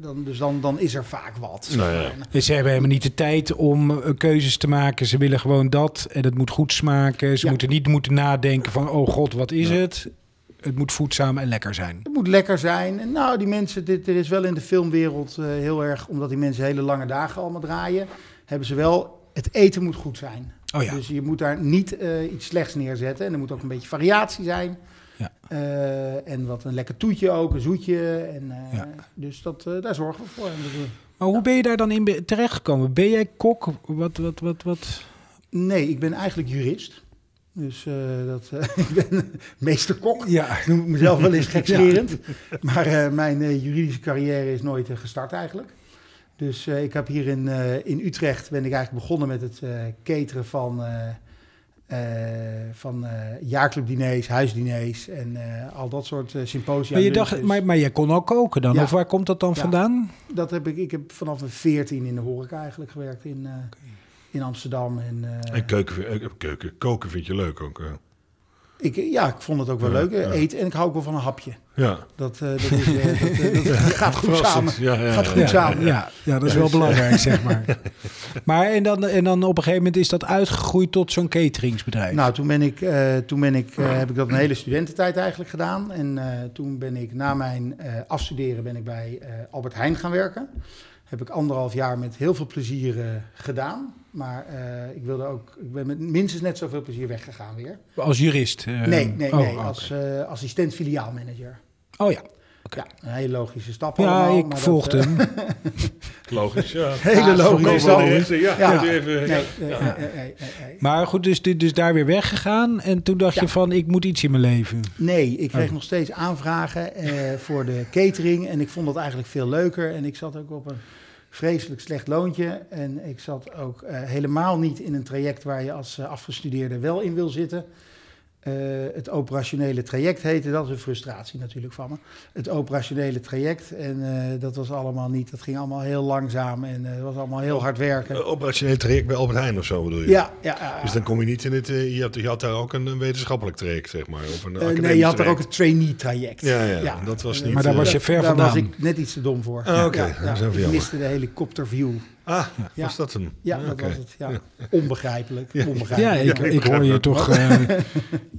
dan, dus dan, dan is er vaak wat. Nou ja. Dus ze hebben helemaal niet de tijd om eh, keuzes te maken. Ze willen gewoon dat en het moet goed smaken. Ze Ja. moeten niet moeten nadenken van, oh god, wat is het? Het moet voedzaam en lekker zijn. Het moet lekker zijn. En nou, die mensen, dit, er is wel in de filmwereld eh, heel erg, omdat die mensen hele lange dagen allemaal draaien, hebben ze wel, het eten moet goed zijn. Oh ja. Dus je moet daar niet eh, iets slechts neerzetten. En er moet ook een beetje variatie zijn. Ja. Eh, en wat een lekker toetje ook, een zoetje. En, eh, Ja. Dus dat, eh, daar zorgen we voor. En dat doen we. Maar hoe ben je daar dan in be- terechtgekomen? Ben jij kok? Wat, wat, wat, wat? Nee, ik ben eigenlijk jurist. Dus eh, dat, eh, ik ben meesterkok. Ja. noem ik mezelf wel eens gekscherend. Maar eh, mijn eh, juridische carrière is nooit eh, gestart eigenlijk. Dus eh, ik heb hier in, eh, in Utrecht ben ik eigenlijk begonnen met het eh cateren van, eh, eh, van eh, jaarclubdiners, huisdiners en eh, al dat soort eh, symposia. Maar, je lunches. dacht, maar, maar jij kon al koken dan? Ja. Of waar komt dat dan Ja. vandaan? Dat heb ik, ik heb vanaf mijn veertien in de horeca eigenlijk gewerkt in, eh, in Amsterdam. En, eh, En keuken, eh, keuken, koken vind je leuk ook. eh. ik, ja, ik vond het ook wel Ja, leuk. eh, ja. Eten en ik hou ook wel van een hapje. Ja, Dat, eh, dat, is, eh, dat, eh, dat gaat goed samen. verrassend. Ja, ja, Gaat ja, goed ja. samen. Ja, ja, dat is wel belangrijk, zeg maar. Maar en dan, en dan op een gegeven moment is dat uitgegroeid tot zo'n cateringsbedrijf. Nou, toen, ben ik, eh, toen ben ik, eh, heb ik dat een hele studententijd eigenlijk gedaan. En eh, toen ben ik na mijn eh, afstuderen ben ik bij eh, Albert Heijn gaan werken. Heb ik anderhalf jaar met heel veel plezier eh, gedaan. Maar eh, ik, wilde ook, ik ben met minstens net zoveel plezier weggegaan weer. Als jurist? eh, nee, nee, oh, nee. oké. Als eh, assistent filiaalmanager. Oh ja, Ja, een hele logische stap ja allemaal, ik maar dat, volgde eh, hem. Logisch, ja. hele logische Meestal stap. de rechter, ja. Ja. moet je Even, Nee, nee, nee, nee, nee, nee. Maar goed, dus, dus daar weer weggegaan. En toen dacht Ja. je van, ik moet iets in mijn leven. Nee, ik kreeg nog steeds aanvragen eh, voor de catering. En ik vond dat eigenlijk veel leuker. En ik zat ook op een vreselijk slecht loontje. En ik zat ook eh, helemaal niet in een traject waar je als eh, afgestudeerde wel in wil zitten. Eh, het operationele traject heette, dat is een frustratie natuurlijk van me. Het operationele traject. En eh, dat was allemaal niet, dat ging allemaal heel langzaam en eh, het was allemaal heel hard werken. Een Operationeel traject bij Albert Heijn of zo bedoel je? Ja, ja, ja. Dus dan kom je niet in het... eh, je, had, je had daar ook een, een wetenschappelijk traject, zeg maar. Of een Eh, academisch nee, je had er ook traject. een trainee-traject. Ja, ja, dat was niet... Maar daar eh, was je ver Daar was vandaan. ik net iets te dom voor. Ah, oké. Ja, ja, Dat is even ik jammer. miste de helikopterview. Ah, Ja. was dat hem? Ja, dat oké. was het. Ja. Onbegrijpelijk. Ja, onbegrijpelijk. ik, Ja, ik ik hoor begrijp je dat. toch eh,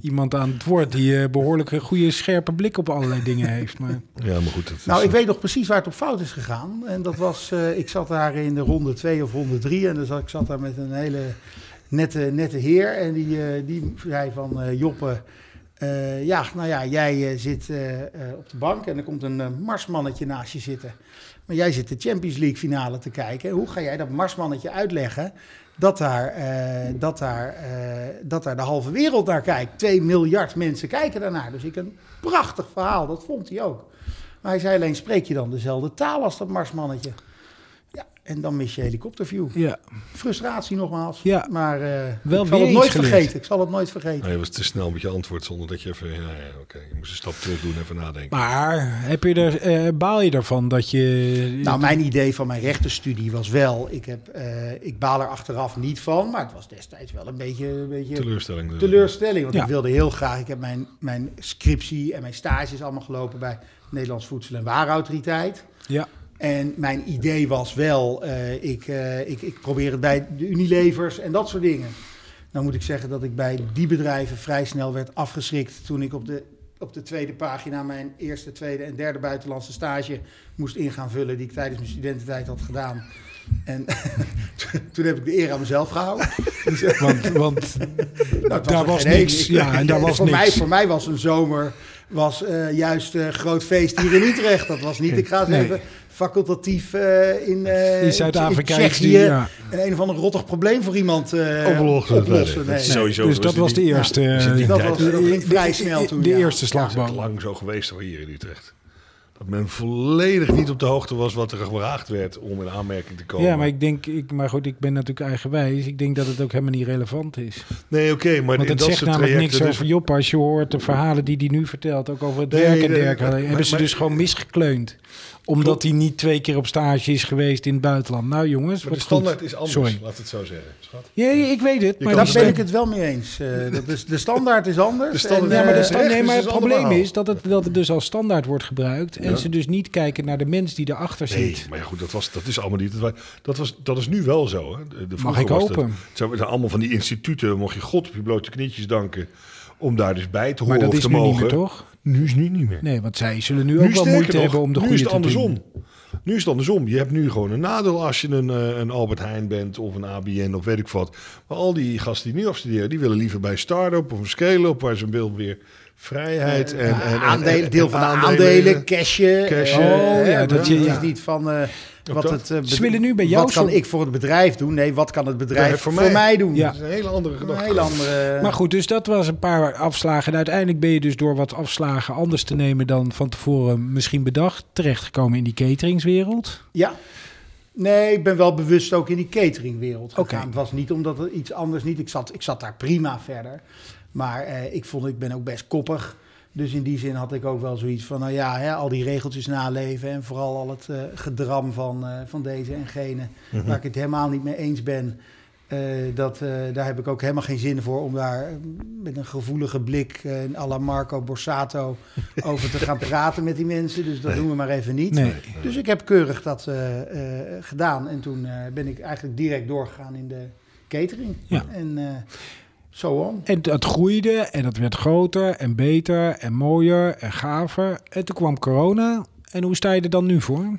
iemand aan het woord die eh, behoorlijk een goede scherpe blik op allerlei dingen heeft. Maar Ja, maar goed. Dat Nou, is, ik weet nog precies waar het op fout is gegaan. En dat was, eh, ik zat daar in de ronde 2 of ronde 3. En dus ik zat daar met een hele nette, nette heer. En die, eh, die zei van, eh Joppe, eh, ja, nou ja, jij eh, zit eh, eh, op de bank en er komt een eh, marsmannetje naast je zitten. Maar jij zit de Champions League finale te kijken. Hoe ga jij dat marsmannetje uitleggen dat daar, eh, dat daar, eh, dat daar de halve wereld naar kijkt? Twee miljard mensen kijken daarnaar. Dus ik een prachtig verhaal, dat vond hij ook. Maar hij zei alleen, spreek je dan dezelfde taal als dat marsmannetje? Ja, en dan mis je helikopterview. ja, Frustratie nogmaals. Ja. Maar eh, Wel ik weer zal het iets nooit geleerd. vergeten. Ik zal het nooit vergeten. Nou, je was te snel met je antwoord zonder dat je even... Ja, ja, oké. Je moest een stap terug doen en even nadenken. maar heb je er, eh, baal je ervan dat je... Nou, mijn idee van mijn rechtenstudie was wel... Ik, heb, eh, ik baal er achteraf niet van, maar het was destijds wel een beetje... Een beetje Teleurstelling. dus. Teleurstelling, want Ja. ik wilde heel graag. Ik heb mijn, mijn scriptie en mijn stages allemaal gelopen bij Nederlands Voedsel- en Warenautoriteit. ja, En mijn idee was wel, eh, ik, eh, ik, ik probeer het bij de Unilevers en dat soort dingen. Nou moet ik zeggen dat ik bij die bedrijven vrij snel werd afgeschrikt toen ik op de, op de tweede pagina mijn eerste, tweede en derde buitenlandse stage moest in gaan vullen die ik tijdens mijn studententijd had gedaan. En toen heb ik de eer aan mezelf gehouden. want, want Nou, het daar er was geen niks. één. Ja, en daar was voor niks. Mij, voor mij was een zomer was, eh, juist een groot feest hier in Utrecht. Dat was niet, ik ga eens Nee. even facultatief eh, in, eh, in Zuid-Afrika in is die... Tsjechië Ja. een, een of ander rottig probleem voor iemand eh Oplossen. oplossen. Dat Nee, is nee. sowieso... Dus dat was de die- eerste... in die eh, Dat, tijd- was, dat ging de- vrij de- snel toen. De ja. eerste Dat is ook slagboom. lang zo geweest hoor, hier in Utrecht. Dat men volledig niet op de hoogte was wat er gevraagd werd om in aanmerking te komen. Ja, maar ik denk, ik, maar goed, ik ben natuurlijk eigenwijs. Ik denk dat het ook helemaal niet relevant is. Nee, oké, maar Want het in dat zegt soort namelijk trajecten... niks dus- over Job als je hoort de verhalen die hij nu vertelt, ook over het Nee, werk en nee, dergelijke. maar- Hebben ze maar- dus gewoon misgekleund. Omdat hij niet twee keer op stage is geweest in het buitenland. Nou jongens, Maar de wat standaard goed. is anders, Sorry. laat het zo zeggen. Schat. Ja, ja, ik weet het. Maar kan dat Daar ben ik het. het wel mee eens. Eh, dat is, de standaard is anders. De standaard- en, Ja, maar, de eh, stand- nee, terecht, maar dus het is een probleem ander is dat het, dat het dus als standaard wordt gebruikt. En ze dus niet kijken naar de mens die erachter Nee, zit. maar ja, goed, dat, was, dat is allemaal niet. Dat, wa- dat, was, dat is nu wel zo. Hè. De, de- vroeger ik was hopen. Dat, het zijn allemaal van die instituten, mocht je God op je blote knietjes danken. om daar dus bij te Maar horen dat of is te nu mogen. niet meer, toch? Nu is nu niet meer. Nee, want zij zullen nu, nu ook wel sterker moeite nog, hebben om de nu goede is te het doen. andersom. Nu is het andersom. Je hebt nu gewoon een nadeel als je een, eh, een Albert Heijn bent of een ABN of weet ik wat. Maar al die gasten die nu afstuderen, die willen liever bij een start-up of een scale-up waar ze willen weer vrijheid Eh, en, en, en- aandelen, en- deel en van de aandelen, cashen. Cashen. eh, Oh, ja, hè, dat maar je- het ja. is niet van eh, wat dat? het eh, Ze bed- willen nu bij jou Wat kan zo'n- ik voor het bedrijf doen? Nee, wat kan het bedrijf Ja, voor, voor mij. mij. doen? Ja. Dat is een hele andere Een gedachte. heel andere. Maar goed, dus dat was een paar afslagen. En uiteindelijk ben je dus door wat afslagen anders te nemen dan van tevoren misschien bedacht. terechtgekomen in die cateringswereld. Ja. Nee, ik ben wel bewust ook in die cateringwereld gegaan. Oké. Het was niet omdat er iets anders niet. Ik zat, ik zat daar prima verder. Maar eh, ik vond, ik ben ook best koppig. Dus in die zin had ik ook wel zoiets van, nou ja, hè, al die regeltjes naleven en vooral al het eh, gedram van, eh, van deze en gene, waar ik het helemaal niet mee eens ben. eh, dat, eh, daar heb ik ook helemaal geen zin voor om daar eh, met een gevoelige blik eh à la Marco Borsato over te gaan praten met die mensen. Dus dat doen we maar even niet. Nee. Dus ik heb keurig dat eh, eh, gedaan. En toen eh, ben ik eigenlijk direct doorgegaan in de catering. Ja. En eh zo on. En dat groeide en dat werd groter en beter en mooier en gaver. En toen kwam corona. En hoe sta je er dan nu voor?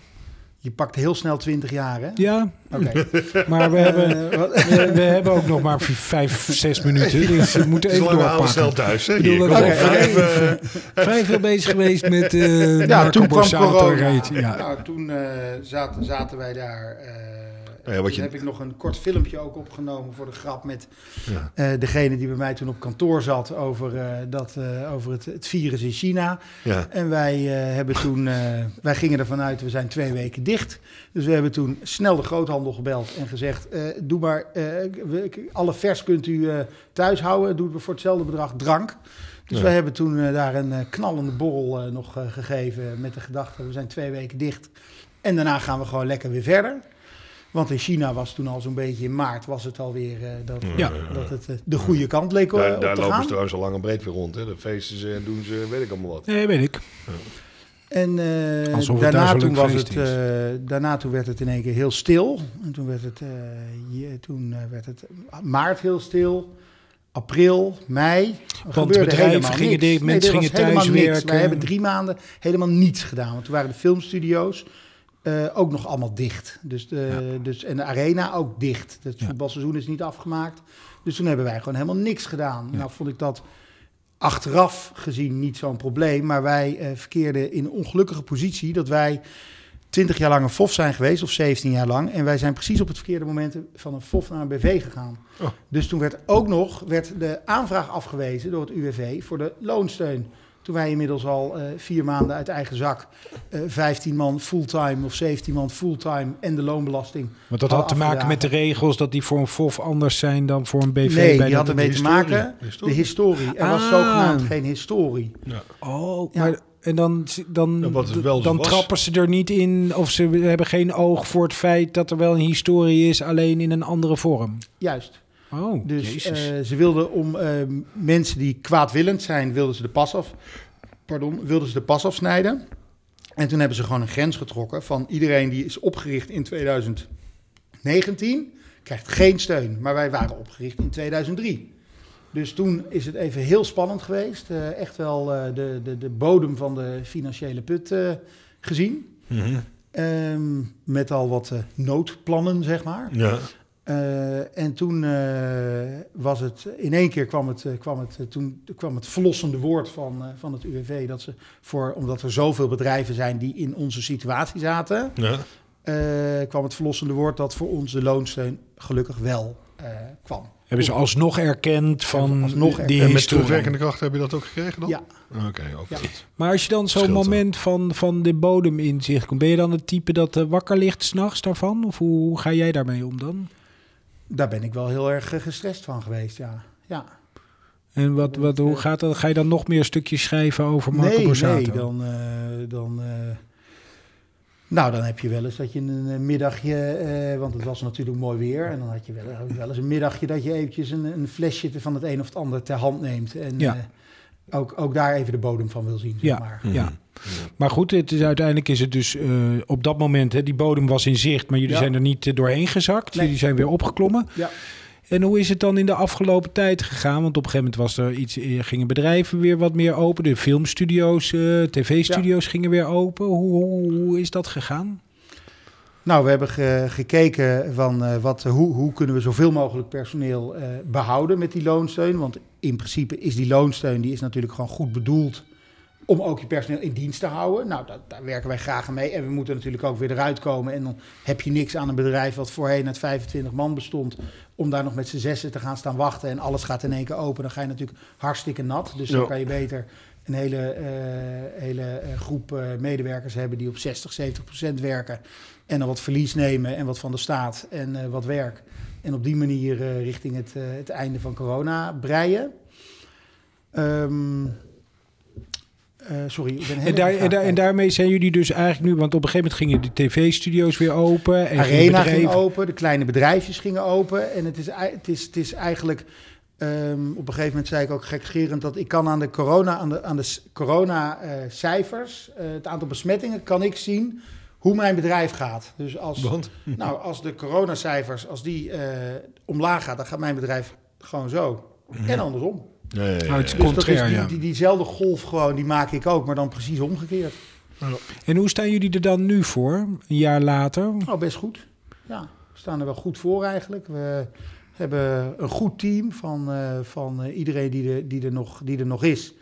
Je pakt heel snel 20 jaar, hè? Ja, Oké. maar we hebben, Eh, wat- we, we hebben ook nog maar v- vijf, zes minuten. Dus we moeten Het even is lang maar doorpakken. snel thuis. Hè? Ik bedoel, Hier, we kom zijn op, vrij- even, Vrij veel bezig geweest met eh ja, Marco toen kwam Borsato corona. reed- Ja. Nou, toen eh, zaten, zaten wij daar. eh Nou ja, wat toen je- heb ik nog een kort filmpje ook opgenomen voor de grap met Ja. eh, degene die bij mij toen op kantoor zat over, eh, dat, eh, over het, het virus in China. Ja. En wij, eh, hebben toen, eh, wij gingen ervan uit, we zijn twee weken dicht. Dus we hebben toen snel de groothandel gebeld en gezegd... eh, doe maar, eh, we- k- alle vers kunt u eh, thuis houden. Doe het voor hetzelfde bedrag drank. Dus Ja. wij hebben toen eh, daar een eh, knallende borrel eh, nog eh, gegeven... met de gedachte, we zijn twee weken dicht. En daarna gaan we gewoon lekker weer verder. Want in China was toen al zo'n beetje in maart was het alweer eh, dat, Ja. dat het eh, de goede kant leek eh, daar op daar te lopen gaan. ze trouwens al lang en breed weer rond. Hè? Dan feesten ze en doen ze, weet ik allemaal wat. Nee, weet ik. En eh, Alsof het daar daarna, zo'n toen leuk was feest het, eh, daarna toen werd het in één keer heel stil. En toen werd het, eh, je- toen, eh, werd het maart heel stil. April, mei. Er gebeurde bedrijven helemaal gingen niks. dicht, Nee, mensen er was gingen thuis helemaal niks. Wij werken. hebben drie maanden helemaal niets gedaan. Want toen waren de filmstudio's eh, ook nog allemaal dicht. Dus de, dus, en de arena ook dicht. Het Ja. voetbalseizoen is niet afgemaakt. Dus toen hebben wij gewoon helemaal niks gedaan. Nou vond ik dat achteraf gezien niet zo'n probleem. Maar wij eh, verkeerden in een ongelukkige positie dat wij 20 jaar lang een FOF zijn geweest, of 17 jaar lang. En wij zijn precies op het verkeerde moment van een FOF naar een BV gegaan. Oh. Dus toen werd ook nog werd de aanvraag afgewezen door het UWV voor de loonsteun. Toen wij inmiddels al eh, vier maanden uit eigen zak eh 15 man fulltime of 17 man fulltime en de loonbelasting. Want dat hadden had te maken afgedragen. met de regels dat die voor een FOF anders zijn dan voor een BV. Nee, bij die de- had ermee te historie. maken. De De historie. historie. Er was Ah. zogenaamd geen historie. Oh, Ja. maar, en dan, dan, Ja, wat het wel zo dan was. trappen ze er niet in of ze hebben geen oog voor het feit dat er wel een historie is, alleen in een andere vorm. Juist. Oh, Dus jezus. eh, ze wilden om eh, mensen die kwaadwillend zijn, wilden ze de pas af. Pardon, wilden ze de pas afsnijden. En toen hebben ze gewoon een grens getrokken van iedereen die is opgericht in 2019 krijgt geen steun. Maar wij waren opgericht in 2003. Dus toen is het even heel spannend geweest. Eh, echt wel eh, de, de, de bodem van de financiële put eh, gezien. Mhm. Ehm, met al wat eh, noodplannen, zeg maar. Ja. Eh, en toen eh, was het, in één keer kwam het, eh, kwam het, eh, toen kwam het verlossende woord van, eh, van het UWV. Dat ze voor, omdat er zoveel bedrijven zijn die in onze situatie zaten, ja. eh, kwam het verlossende woord dat voor ons de loonsteun gelukkig wel eh, kwam. hebben ze alsnog erkend van Hebben ze alsnog die erkend. En met historie. terugwerkende kracht heb je dat ook gekregen dan? Ja. Oké, ook Ja. goed. Maar als je dan zo'n Scheelt wel. moment van, van de bodem in zich komt, ben je dan het type dat eh, wakker ligt s'nachts daarvan? Of hoe, hoe ga jij daarmee om dan? Daar ben ik wel heel erg eh, gestrest van geweest, ja. ja. En wat, wat, hoe gaat dat? Ga je dan nog meer stukjes schrijven over Marco nee, Borsato? Nee, dan... eh, dan eh, Nou, dan heb je wel eens dat je een eh, middagje, eh, want het was natuurlijk mooi weer, en dan had je wel, had je wel eens een middagje dat je eventjes een, een flesje te- van het een of het ander ter hand neemt. En Ja. eh, ook, ook daar even de bodem van wil zien, zeg Ja. maar. Ja. Maar goed, het is, uiteindelijk is het dus eh, op dat moment, hè, die bodem was in zicht, maar jullie Ja. zijn er niet eh, doorheen gezakt. Nee. Jullie zijn weer opgeklommen. Ja. En hoe is het dan in de afgelopen tijd gegaan? Want op een gegeven moment was er iets, eh, gingen bedrijven weer wat meer open. De filmstudio's, eh, tv-studio's gingen weer open. Hoe, hoe, hoe is dat gegaan? Nou, we hebben ge- gekeken van eh, wat, hoe, hoe kunnen we zoveel mogelijk personeel eh, behouden met die loonsteun. Want in principe is die loonsteun die is natuurlijk gewoon goed bedoeld om ook je personeel in dienst te houden. Nou, dat, daar werken wij graag aan mee. En we moeten natuurlijk ook weer eruit komen. En dan heb je niks aan een bedrijf wat voorheen uit 25 man bestond... om daar nog met z'n zessen te gaan staan wachten... en alles gaat in één keer open. Dan ga je natuurlijk hartstikke nat. Dus Ja. dan kan je beter een hele, eh, hele eh, groep eh, medewerkers hebben... die op 60, 70 procent werken... en dan wat verlies nemen en wat van de staat en eh, wat werk. En op die manier eh, richting het, eh, het einde van corona breien. Ehm, eh, sorry, ik ben heel En, daar, erg en, daar, en afgeleid. daarmee zijn jullie dus eigenlijk nu, want op een gegeven moment gingen de tv-studio's weer open. En gingen Arena ging bedrijven- open, de kleine bedrijfjes gingen open. En het is, ei- het is, het is eigenlijk... ehm, op een gegeven moment zei ik ook gekgerend dat ik kan aan de corona, aan de, aan de s- corona eh, cijfers, eh, het aantal besmettingen, kan ik zien hoe mijn bedrijf gaat. Dus als, Want? nou, als de coronacijfers, als die eh, omlaag gaat, dan gaat mijn bedrijf gewoon zo. En andersom. Nee, Oh, het is Dus dat is contrair, die, ja. die, diezelfde golf gewoon, die maak ik ook, maar dan precies omgekeerd. En hoe staan jullie er dan nu voor, een jaar later? Nou, best goed. Ja, we staan er wel goed voor eigenlijk. We hebben een goed team van, eh, van eh, iedereen die er, die, er nog, die er nog is.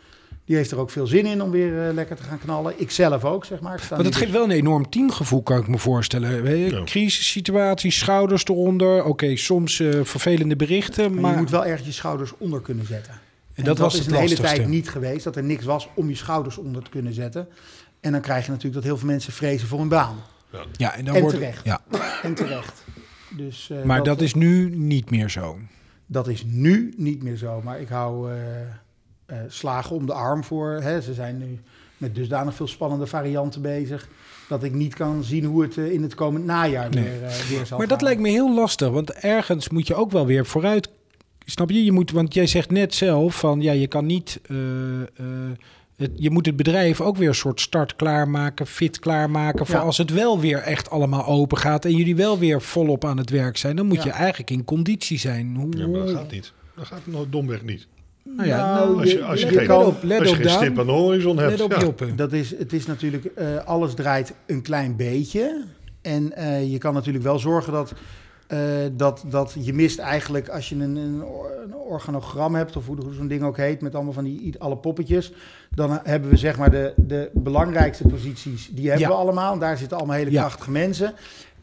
Die heeft er ook veel zin in om weer eh, lekker te gaan knallen. Ik zelf ook, zeg maar. Ik sta Want het niet- geeft wel een enorm teamgevoel, kan ik me voorstellen. Weet je, Ja. Crisissituaties, schouders eronder. Oké, soms eh, vervelende berichten, maar je maar... moet wel ergens je schouders onder kunnen zetten. En dat was is het de hele lastigste. tijd niet geweest, dat er niks was om je schouders onder te kunnen zetten. En dan krijg je natuurlijk dat heel veel mensen vrezen voor hun baan. ja, en dan en wordt- terecht. Ja. En terecht. Dus, eh, Maar dat is nu niet meer zo. Dat is nu niet meer zo, maar ik hou eh, eh, slagen om de arm voor. Hè. Ze zijn nu met dusdanig veel spannende varianten bezig... dat ik niet kan zien hoe het eh, in het komend najaar Nee. weer, eh, weer zal Maar dat gaan. lijkt me heel lastig, want ergens moet je ook wel weer vooruit. Snap je? je moet, want jij zegt net zelf van ja, je kan niet. eh, eh, het, je moet het bedrijf ook weer een soort start klaarmaken, fit klaarmaken. Voor Ja. als het wel weer echt allemaal open gaat en jullie wel weer volop aan het werk zijn, dan moet Ja. je eigenlijk in conditie zijn. Hoe, Ja, maar dat gaat niet. Dat gaat no- domweg niet. Nou ja, Nou, nou, Als je, als je let geen, op, let als je op, geen Daan. stip aan de horizon hebt. let op ja. Joppe. Dat is, het is natuurlijk, eh, alles draait een klein beetje. En eh, je kan natuurlijk wel zorgen dat, eh, dat, dat je mist eigenlijk als je een, een, or- een organogram hebt, of hoe, hoe zo'n ding ook heet, met allemaal van die alle poppetjes. Dan hebben we zeg maar de, de belangrijkste posities, die hebben Ja. we allemaal. En daar zitten allemaal hele Ja. krachtige mensen.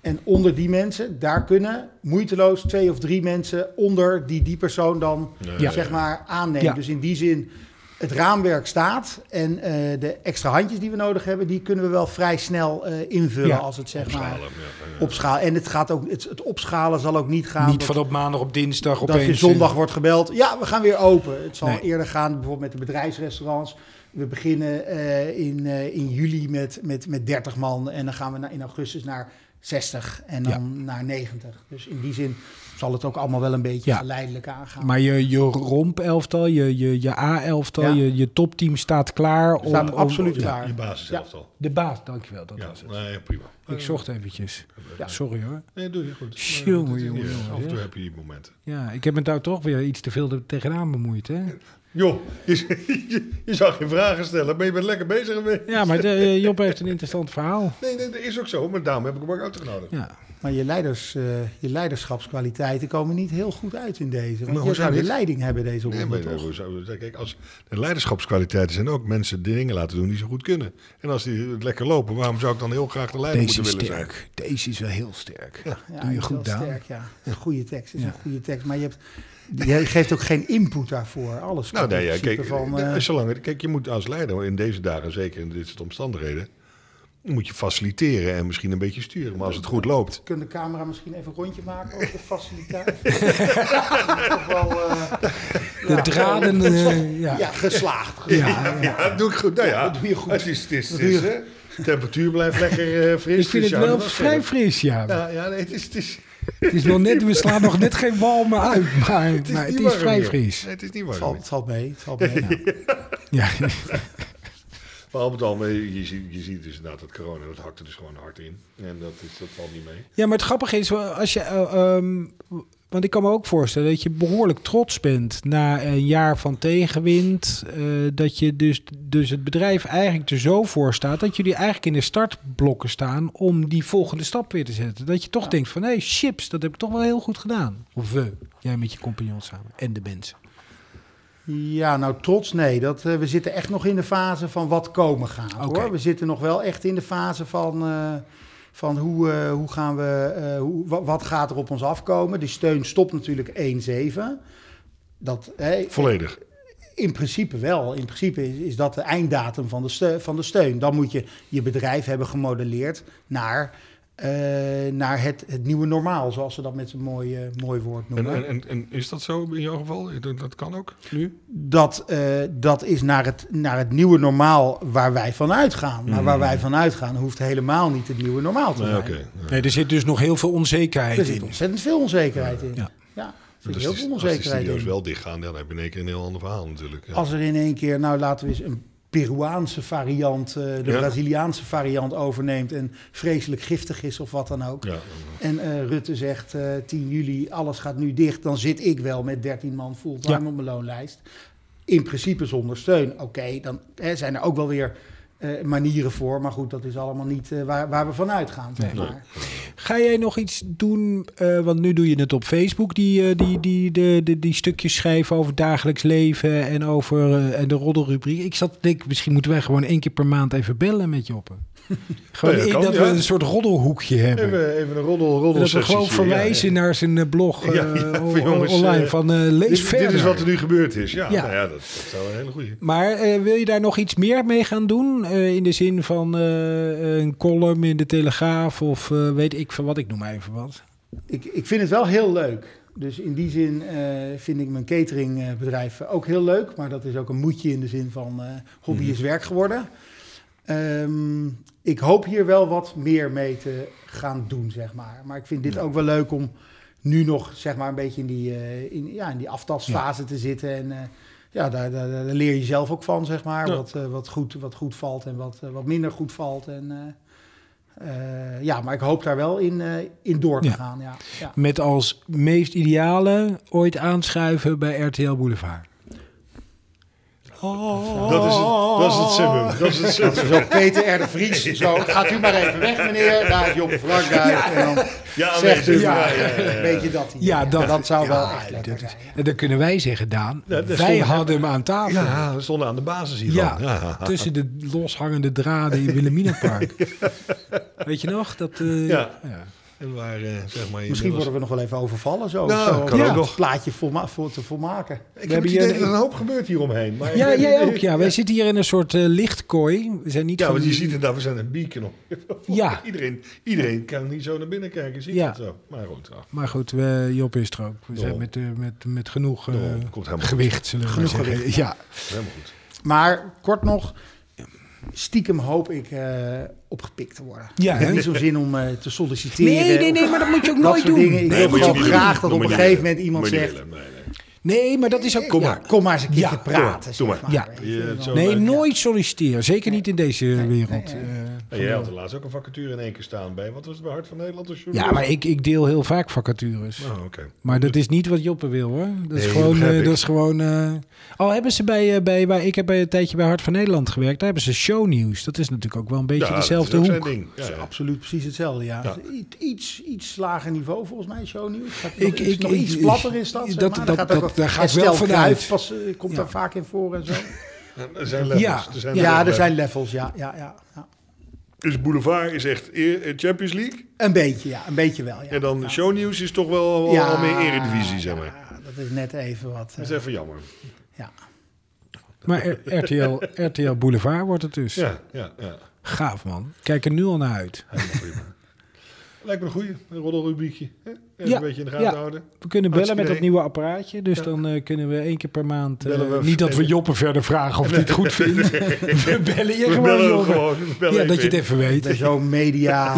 En onder die mensen, daar kunnen moeiteloos twee of drie mensen onder die die persoon dan Ja. zeg maar aanneemt. Ja. Dus in die zin, het raamwerk staat en eh, de extra handjes die we nodig hebben, die kunnen we wel vrij snel eh, invullen Ja, als het zeg Opschalen, maar ja, ja. opschalen. En het, gaat ook, het, het opschalen zal ook niet gaan niet dat- van op maandag op dinsdag dat opeens. eh, je zondag wordt gebeld. Ja, we gaan weer open. Het zal Nee. eerder gaan bijvoorbeeld met de bedrijfsrestaurants. We beginnen eh, in, eh, in juli met, met, met 30 man en dan gaan we na- in augustus naar 60 en dan naar 90. Dus in die zin zal het ook allemaal wel een beetje Ja. geleidelijk aangaan. Maar je, je romp-elftal, je, je, je A-elftal, Ja. je, je topteam staat klaar. om- staat om- absoluut ja. klaar. Je basis Ja. zelf al. De baas, dankjewel. Dat Ja, was het. nee, prima. Ik zocht eventjes. Ja. Sorry hoor. Nee, doe je goed. Maar Jongen, dat is jongen, niet erg. jongen, Af en toe hè? heb je die momenten. Ja, ik heb me daar toch weer iets te veel er- tegenaan bemoeid. Hè? Joh, je, je, je zou geen vragen stellen, maar je bent lekker bezig geweest. Ja, maar de, eh, Job heeft een interessant verhaal. Nee, nee, dat is ook zo, maar daarom heb ik hem ook uitgenodigd. Ja. Maar je, leiders, eh, je leiderschapskwaliteiten komen niet heel goed uit in deze. Want Maar je hoezo zou de niet? leiding hebben deze Nee, ronde, maar toch? hoe zou- kijk, als de leiderschapskwaliteiten zijn ook mensen die dingen laten doen die ze goed kunnen. En als die het lekker lopen, waarom zou ik dan heel graag de leider Deze is moeten willen zijn? sterk. Deze is wel heel sterk. Ja, Doe je is wel goed, Daan. Sterk, ja. Het is een goede tekst, het is Ja. een goede tekst. Maar je, hebt, je geeft ook geen input daarvoor. Alles Nou, komt nee, in ja, principe kijk, van... eh, eh, zolang het- kijk, je moet als leider in deze dagen, zeker in dit soort omstandigheden, moet je faciliteren en misschien een beetje sturen. Maar als het goed loopt, Kun de camera misschien even een rondje maken over de faciliteit? Dat is toch wel, eh, De draden. eh, ja. ja, geslaagd. Ja, ja, doe ik goed. Nou ja, dat doe je goed. Het is, het is, Dat het is, doe je hè. Temperatuur blijft lekker eh fris. Ik vind dus het ja, wel dat is vrij verder. fris, ja. Ja, ja nee, het is, het is, Het is nog net, we slaan nog net geen walmen uit, maar maar het is, niet het is warm vrij hier. fris. Nee, het is niet warm. valt, valt mee. Het valt mee. Ja. Maar al met al, eh, je ziet, je ziet dus inderdaad dat corona, dat hakt er dus gewoon hard in. En dat, is, dat valt niet mee. ja, maar het grappige is, als je, eh, ehm, want ik kan me ook voorstellen dat je behoorlijk trots bent na een jaar van tegenwind. eh, dat je dus, dus het bedrijf eigenlijk er zo voor staat dat jullie eigenlijk in de startblokken staan om die volgende stap weer te zetten. Dat je toch denkt van, hé, hey, chips, dat heb ik toch wel heel goed gedaan. Of we, jij met je compagnon samen en de mensen. Ja, nou trots, nee. Dat, eh, we zitten echt nog in de fase van wat komen gaat. Oké. Hoor. We zitten nog wel echt in de fase van, eh, van hoe, eh, hoe gaan we, eh, hoe, wa- wat gaat er op ons afkomen. Die steun stopt natuurlijk 1,7. Dat, hè, Volledig. in principe wel. In principe is, is dat de einddatum van de, ste- van de steun. Dan moet je je bedrijf hebben gemodelleerd naar, eh, naar het, het nieuwe normaal, zoals ze dat met een mooi, eh, mooi woord En, noemen. en, en, en is dat zo in jouw geval? Dat- Dat kan ook nu? dat, eh, dat is naar het, naar het nieuwe normaal waar wij van uitgaan. Maar waar wij van uitgaan hoeft helemaal niet het nieuwe normaal te Mm. Nee, zijn. oké. Nee, er zit dus nog heel veel Er onzekerheid zit in. ontzettend veel onzekerheid in. Ja. Ja, er zit Dus heel die- veel als die onzekerheid studio's in. wel dichtgaan, dan heb je in één keer een heel ander verhaal natuurlijk. Ja. Als er in één keer, nou laten we eens een Peruaanse variant, eh, de Ja. Braziliaanse variant overneemt en vreselijk giftig is of wat dan ook. ja. En eh, Rutte zegt eh, 10 juli, alles gaat nu dicht. Dan zit ik wel met 13 man fulltime Ja. op mijn loonlijst. In principe zonder steun. Oké, dan hè, zijn er ook wel weer eh, manieren voor. Maar goed, dat is allemaal niet eh, waar, waar we van uitgaan. Zeg Nee. maar. Ga jij nog iets doen? eh, want nu doe je het op Facebook, die, eh, die, die, de, de, die stukjes schrijven over dagelijks leven en over eh, en de roddelrubriek. Ik zat te denken, misschien moeten wij gewoon één keer per maand even bellen met Joppe. gewoon Ja, dat in- kan, dat ja. we een soort roddelhoekje hebben. Even, even een roddel, roddel dat we gewoon verwijzen naar zijn eh, blog eh, Ja, ja, on- van jongens, online eh, van eh, lees Dit, verder. dit is wat er nu gebeurd is. Ja, Ja. Nou ja dat, dat zou een hele goede. Maar eh, wil je daar nog iets meer mee gaan doen? Eh, in de zin van eh, een column in de Telegraaf of eh, weet ik van wat, ik noem maar even wat. Ik, ik vind het wel heel leuk. Dus in die zin eh, vind ik mijn cateringbedrijf ook heel leuk. Maar dat is ook een moedje in de zin van eh hobby Mhm. is werk geworden. Ehm, ik hoop hier wel wat meer mee te gaan doen, zeg maar. Maar ik vind dit ook wel leuk om nu nog zeg maar, een beetje in die, eh, in, ja, in die aftastfase te zitten. En eh, ja, daar, daar, daar leer je zelf ook van, zeg maar. Wat, eh, wat, goed, wat goed valt en wat, eh, wat minder goed valt. En, eh, eh, ja, maar ik hoop daar wel in, eh, in door te Ja. gaan. Ja. Ja. Met als meest ideale ooit aanschuiven bij RTL Boulevard. Dat is het, dat is het summum. Dat is het summum. Zo, Peter R. de Vries. Zo, gaat u maar even weg, meneer. Daar is Job Frank uit. En dan Ja, zegt nee, u ja, maar, ja, ja, ja. weet je dat hier. Ja, dat- zou wel Ja, echt lekker dat is- zijn. en dan kunnen wij zeggen, Daan, Ja, dat wij stond- hadden hem aan tafel. Ja, Ja, we stonden aan de basis hier dan. Ja. tussen de loshangende draden in Wilhelminapark. Weet je nog? Dat, eh, Ja. ja. En waar, eh, zeg maar, Misschien inmiddels- worden we nog wel even overvallen zo. Nou, zo kan om ook het nog. plaatje volma- voor te volmaken. Ik We heb het hebben idee hier dat een- er een hoop gebeurt hieromheen. Maar Ja, jij ook. Ja, wij zitten hier in een soort eh, lichtkooi. We zijn niet Ja, van want je die- ziet het daar, we zijn een beacon op. Ja. Iedereen, iedereen kan niet zo naar binnen kijken, zie je Ja. het zo. Maar goed, ah, Maar goed, we, Job is er ook. We zijn Dol. met, eh, met, met genoeg eh, Dol, komt helemaal gewicht, zullen we maar zeggen. Ja. helemaal goed. Maar kort nog, stiekem hoop ik eh, opgepikt te worden. Ja, ik heb hè? niet zo'n zin om eh, te solliciteren. Nee, nee, nee, maar dat moet je ook eh, Dat nooit soort doen. dingen. Ik Nee, wil moet je gewoon niet doen. graag dat Moet op je een niet gegeven willen. moment iemand Moet je niet zegt... willen. Nee, nee. Nee, maar dat is ook... Kom ja. maar, kom maar eens een keertje Ja, praten. doe maar. zeg Ja. weet je, Je, dan- zo Nee, leuk. nooit solliciteren. Zeker niet in deze wereld. Eh, Ja, jij had er laatst ook een vacature in één keer staan bij. Wat was het bij Hart van Nederland? Of ja, maar ik, ik deel heel vaak vacatures. Oh, oké. Maar dat is niet wat Joppe wil hoor. Dat is Nee, gewoon. begrijp eh, ik. dat is gewoon eh, al hebben ze bij, eh, bij, bij. Ik heb bij een tijdje bij Hart van Nederland gewerkt. Daar hebben ze shownieuws. Dat is natuurlijk ook wel een beetje Ja, dat is dezelfde ook hoek. zijn ding. Ja, Ja, ja. absoluut precies hetzelfde, ja. Ja. I- Iets, iets lager niveau volgens mij, shownieuws. Gaat Ik- nog iets, ik- nog ik- iets platter is dat, zeg dat- maar. dat- gaat ook dat- wel- daar ga ik en stel wel van Cruijff uit. pas, eh, komt Ja. daar vaak in voor en zo. Er zijn levels. Ja. Er zijn ja, er levels. zijn levels, ja. ja, ja, ja. Dus Boulevard is echt eer- eh, Champions League. Een beetje, ja. Een beetje wel, ja. En dan shownieuws is toch wel, al- Ja. al meer eredivisie, zeg maar. Ja, dat is net even wat. eh, Dat is even jammer. ja. Maar R- RTL, RTL Boulevard wordt het dus. Ja, ja, ja. Gaaf man. Kijk er nu al naar uit. Helemaal prima. Lijkt me een goeie, een roddelrubriekje. hè? Even Ja, een beetje in de gaten ja. houden. We kunnen bellen met dat Hartstikke nieuwe apparaatje. Dus dan eh, kunnen we één keer per maand... eh, Bellen we- niet dat we Joppen verder vragen of hij het goed vindt. we bellen je We gewoon, bellen hem Joppe. gewoon. We bellen Ja, dat je het even even weet. Bij zo'n media.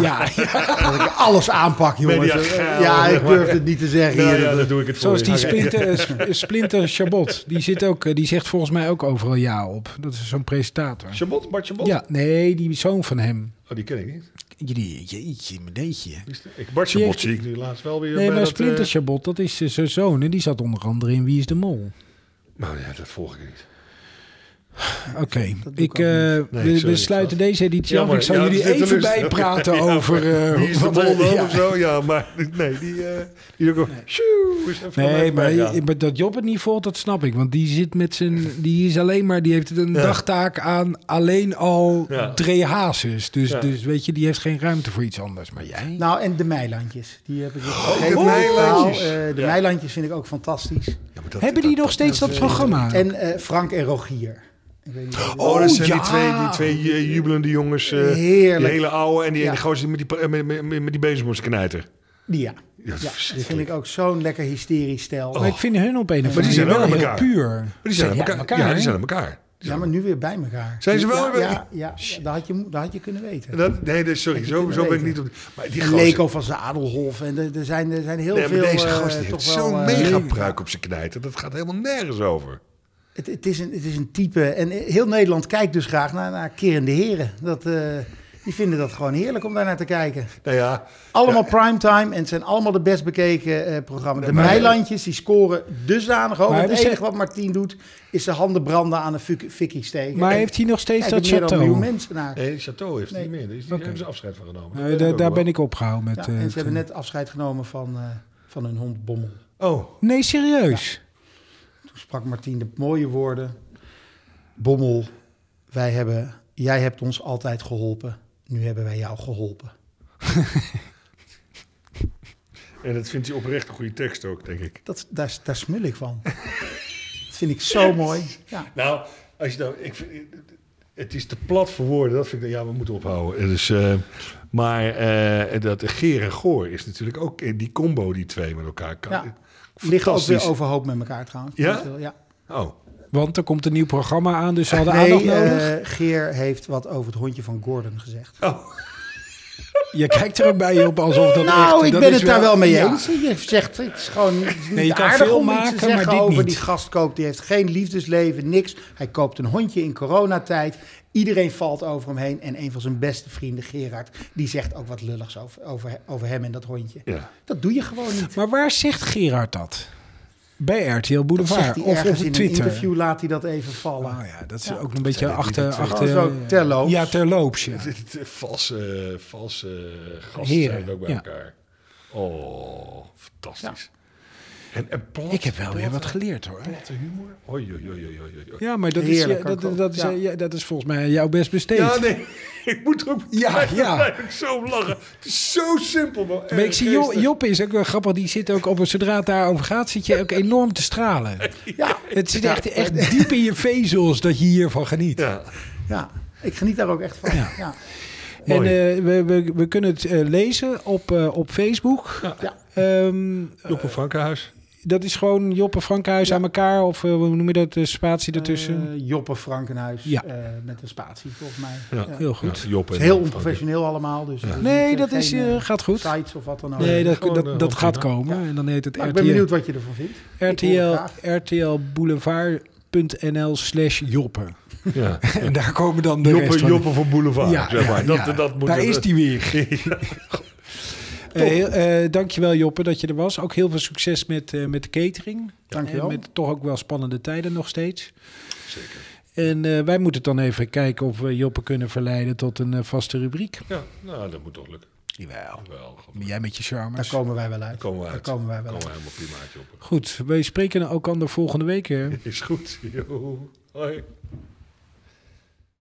Ja, ja. Dat ik alles aanpak, jongens. eh, Mediageil, ja, zeg ik maar. durf het niet te zeggen. in. Nou hier. ja, dat doe ik het voor zoals je. die Oké. Splinter, eh, sp- splinter Chabot. Die, zit ook, eh, die zegt volgens mij ook overal ja op. Dat is zo'n presentator. Chabot, Bart Chabot? Ja, nee, die zoon van hem. Oh, die ken ik niet. Jeetje, jeetje, meneetje. Wie is die? Ik, Bart Die heeft- Chabot zie ik nu laatst wel weer Nee, bij maar dat... eh, Splinter Chabot, dat is eh, zijn zoon. En die zat onder andere in Wie is de Mol. Nou ja, dat volg ik niet. Oké, ik, eh, Nee, we, we sorry, sluiten deze editie af. Jammer. Ik zal Ja, jullie het is even teleurstellend. bijpraten Ja, over... eh, Die is de wat mol er- dan ja. of zo? Ja, maar nee, die... eh die ook... Sjoe, is even Nee, erbij maar, gegaan. maar dat Job het niet voelt, dat snap ik. Want die zit met zijn... Die is alleen maar... Die heeft een Ja. dagtaak aan alleen al Ja. drie hazes. Dus, Ja. dus weet je, die heeft geen ruimte voor iets anders. Maar jij? Nou, en de Meilandjes. Die heb ik nog Oh, de vergeten. Meilandjes. Nou, eh, de Ja. Meilandjes vind ik ook fantastisch. Ja, maar dat- Hebben die nog steeds dat, programma? En eh, Frank en Rogier. Ik weet niet of- Oh, dat zijn ja. die twee, die twee eh, jubelende jongens. eh, die Heerlijk. hele oude en die ene Ja. gozer met die, pa- eh, met, met, met die bezemhoorsknijter. Die ja. Ja, Ja, dat vind verschrikkelijk. Oh, ik ook zo'n lekker hysterisch stijl. Maar ik vind hun op een of Maar die andere zijn manier wel wel aan heel elkaar. puur. Maar die zijn aan Ja, elkaar. elkaar, ja, hè? die zijn aan elkaar. Ja, maar nu weer bij elkaar. Zijn ze wel ja, weer- Ja, ja, dat, had je, mo- dat had je kunnen weten. Dat, nee, dus sorry, Dat zo, kunnen zo ben ik weten. niet op... Maar die En gozer... Leko van Zadelhof. En er- er zijn, er zijn heel nee, maar veel... deze eh, gozer die toch heeft wel, zo'n eh, mega pruik op zijn knijter. Dat gaat helemaal nergens over. Het, het, is een, het is een type. En heel Nederland kijkt dus graag naar, naar Kerende Heren. Dat, eh, die vinden dat gewoon heerlijk om daar naar te kijken. Nou ja, Allemaal primetime en het zijn allemaal de best bekeken eh programma's. De maar- Meilandjes die scoren dusdanig hoog. Maar het we enige zeggen- wat Martien doet is zijn handen branden aan een fik- fikkie steken. Maar En heeft hij nog steeds kijken dat meer dan een miljoen chateau? mensen naar. nee, Chateau heeft Nee. het niet meer. Die is- die hebben ze afscheid van genomen. Nou, Dat weet daar- ik daar ook wel. ben ik opgehouden met... Ja, eh, en ze hebben het- net afscheid genomen van, eh, van hun hond Bommel. Oh, Nee, serieus? Toen sprak Martien de mooie woorden. Bommel, wij hebben, jij hebt ons altijd geholpen. Nu hebben wij jou geholpen. en dat vindt hij oprecht een goede tekst ook, denk ik. Dat, daar, daar smul ik van. dat vind ik zo mooi. Ja. Nou, als je nou, ik, vind- het is te plat voor woorden. Dat vind ik, ja, we moeten ophouden. Dus, eh, maar eh, dat Geer en Goor is natuurlijk ook in die combo, die twee met elkaar. Kan, Ja. Liggen ook Fantastisch. weer overhoop met elkaar trouwens. Ja? ja. Oh, Want er komt een nieuw programma aan, dus ze hadden Nee, aandacht nodig. eh, Geer heeft wat over het hondje van Gordon gezegd. oh. Je kijkt er ook bij je op alsof dat echt... nou, ik dat ben is het daar wel mee ja. eens. Je zegt, het is gewoon niet Nee, je kan aardig veel om iets maken, te maar zeggen dit over niet. die gastkoopt. Die heeft geen liefdesleven, niks. Hij koopt een hondje in coronatijd. Iedereen valt over hem heen. En een van zijn beste vrienden, Gerard, die zegt ook wat lulligs over, over, over hem en dat hondje. Ja. Dat doe je gewoon niet. Maar waar zegt Gerard dat? Bij RTL Dat zegt Boulevard hij of op ergens in een Twitter? interview, laat hij dat even vallen. Oh ja, dat is Ja. ook een beetje Zijn dit niet achter... de twee? achter Oh, zo, terloops. Ja, terloops. Ja. Dit- dit- Valse, valse gasten Heren, zijn ook bij ja. elkaar. Oh, fantastisch. En, en plat, Ik heb wel weer wat geleerd hoor. platte humor. Oei, oei, oei, oei, oei, oei. Ja, maar dat is, Heerlijk, ja, kan ik dat, ook. dat, is, Ja. eh, ja, dat is volgens mij jouw best besteed. Ja, nee, ik moet er ook Ja, ja. Daar blijf ik zo om lachen. Het is zo simpel. Eh, Maar, Maar ik erg zie eh, Job, geestig. Job is ook wel grappig. Die zit ook op een zodra het daarover gaat, zit je ook enorm te stralen. Ja, Het zit echt, echt diep in je vezels dat je hiervan geniet. Ja. ja, ik geniet daar ook echt van. Ja. Ja. En Mooi. eh, we, we, we kunnen het eh, lezen op, eh, op Facebook. Ja. Ehm, Joppe Frankenhuis. dat is gewoon Joppe Frankhuis aan elkaar. Of eh, hoe noem je dat? De spatie ertussen. Eh, Joppe Frankenhuis Ja. eh, met een spatie, volgens mij. Ja. Ja. Heel goed. Ja, Job Nou, Het en is heel Frank. onprofessioneel allemaal. Dus het Nee, niet, eh, dat is, geen, eh, eh, gaat goed. Sites of wat dan ook. Nee, dat, gewoon, eh, dat, dat gaat prima. komen. En dan heet het Maar ik RTL, ben benieuwd wat je ervan vindt. Ik hoor het RTL, graag. rtlboulevard.nl slash Joppe. Ja. En daar komen dan de rest Joppe, van. Joppe van Boulevard, Ja, zeg maar. ja, dat, ja. dat moet daar het- is die weer. Eh, heel- eh, dankjewel Joppe dat je er was. Ook heel veel succes met, eh, met de catering. Dankjewel. En met toch ook wel spannende tijden nog steeds. Zeker. En eh, wij moeten dan even kijken of we Joppe kunnen verleiden tot een eh, vaste rubriek. Ja, nou, dat moet toch lukken. Jawel. Wel, goed. Jij met je Daar charmes. komen wij wel uit. Daar komen we Daar uit. komen wij wel Komen uit. we helemaal prima uit, Joppe. Goed, wij spreken elkaar volgende week. Hè? Is goed. Jo. Hoi.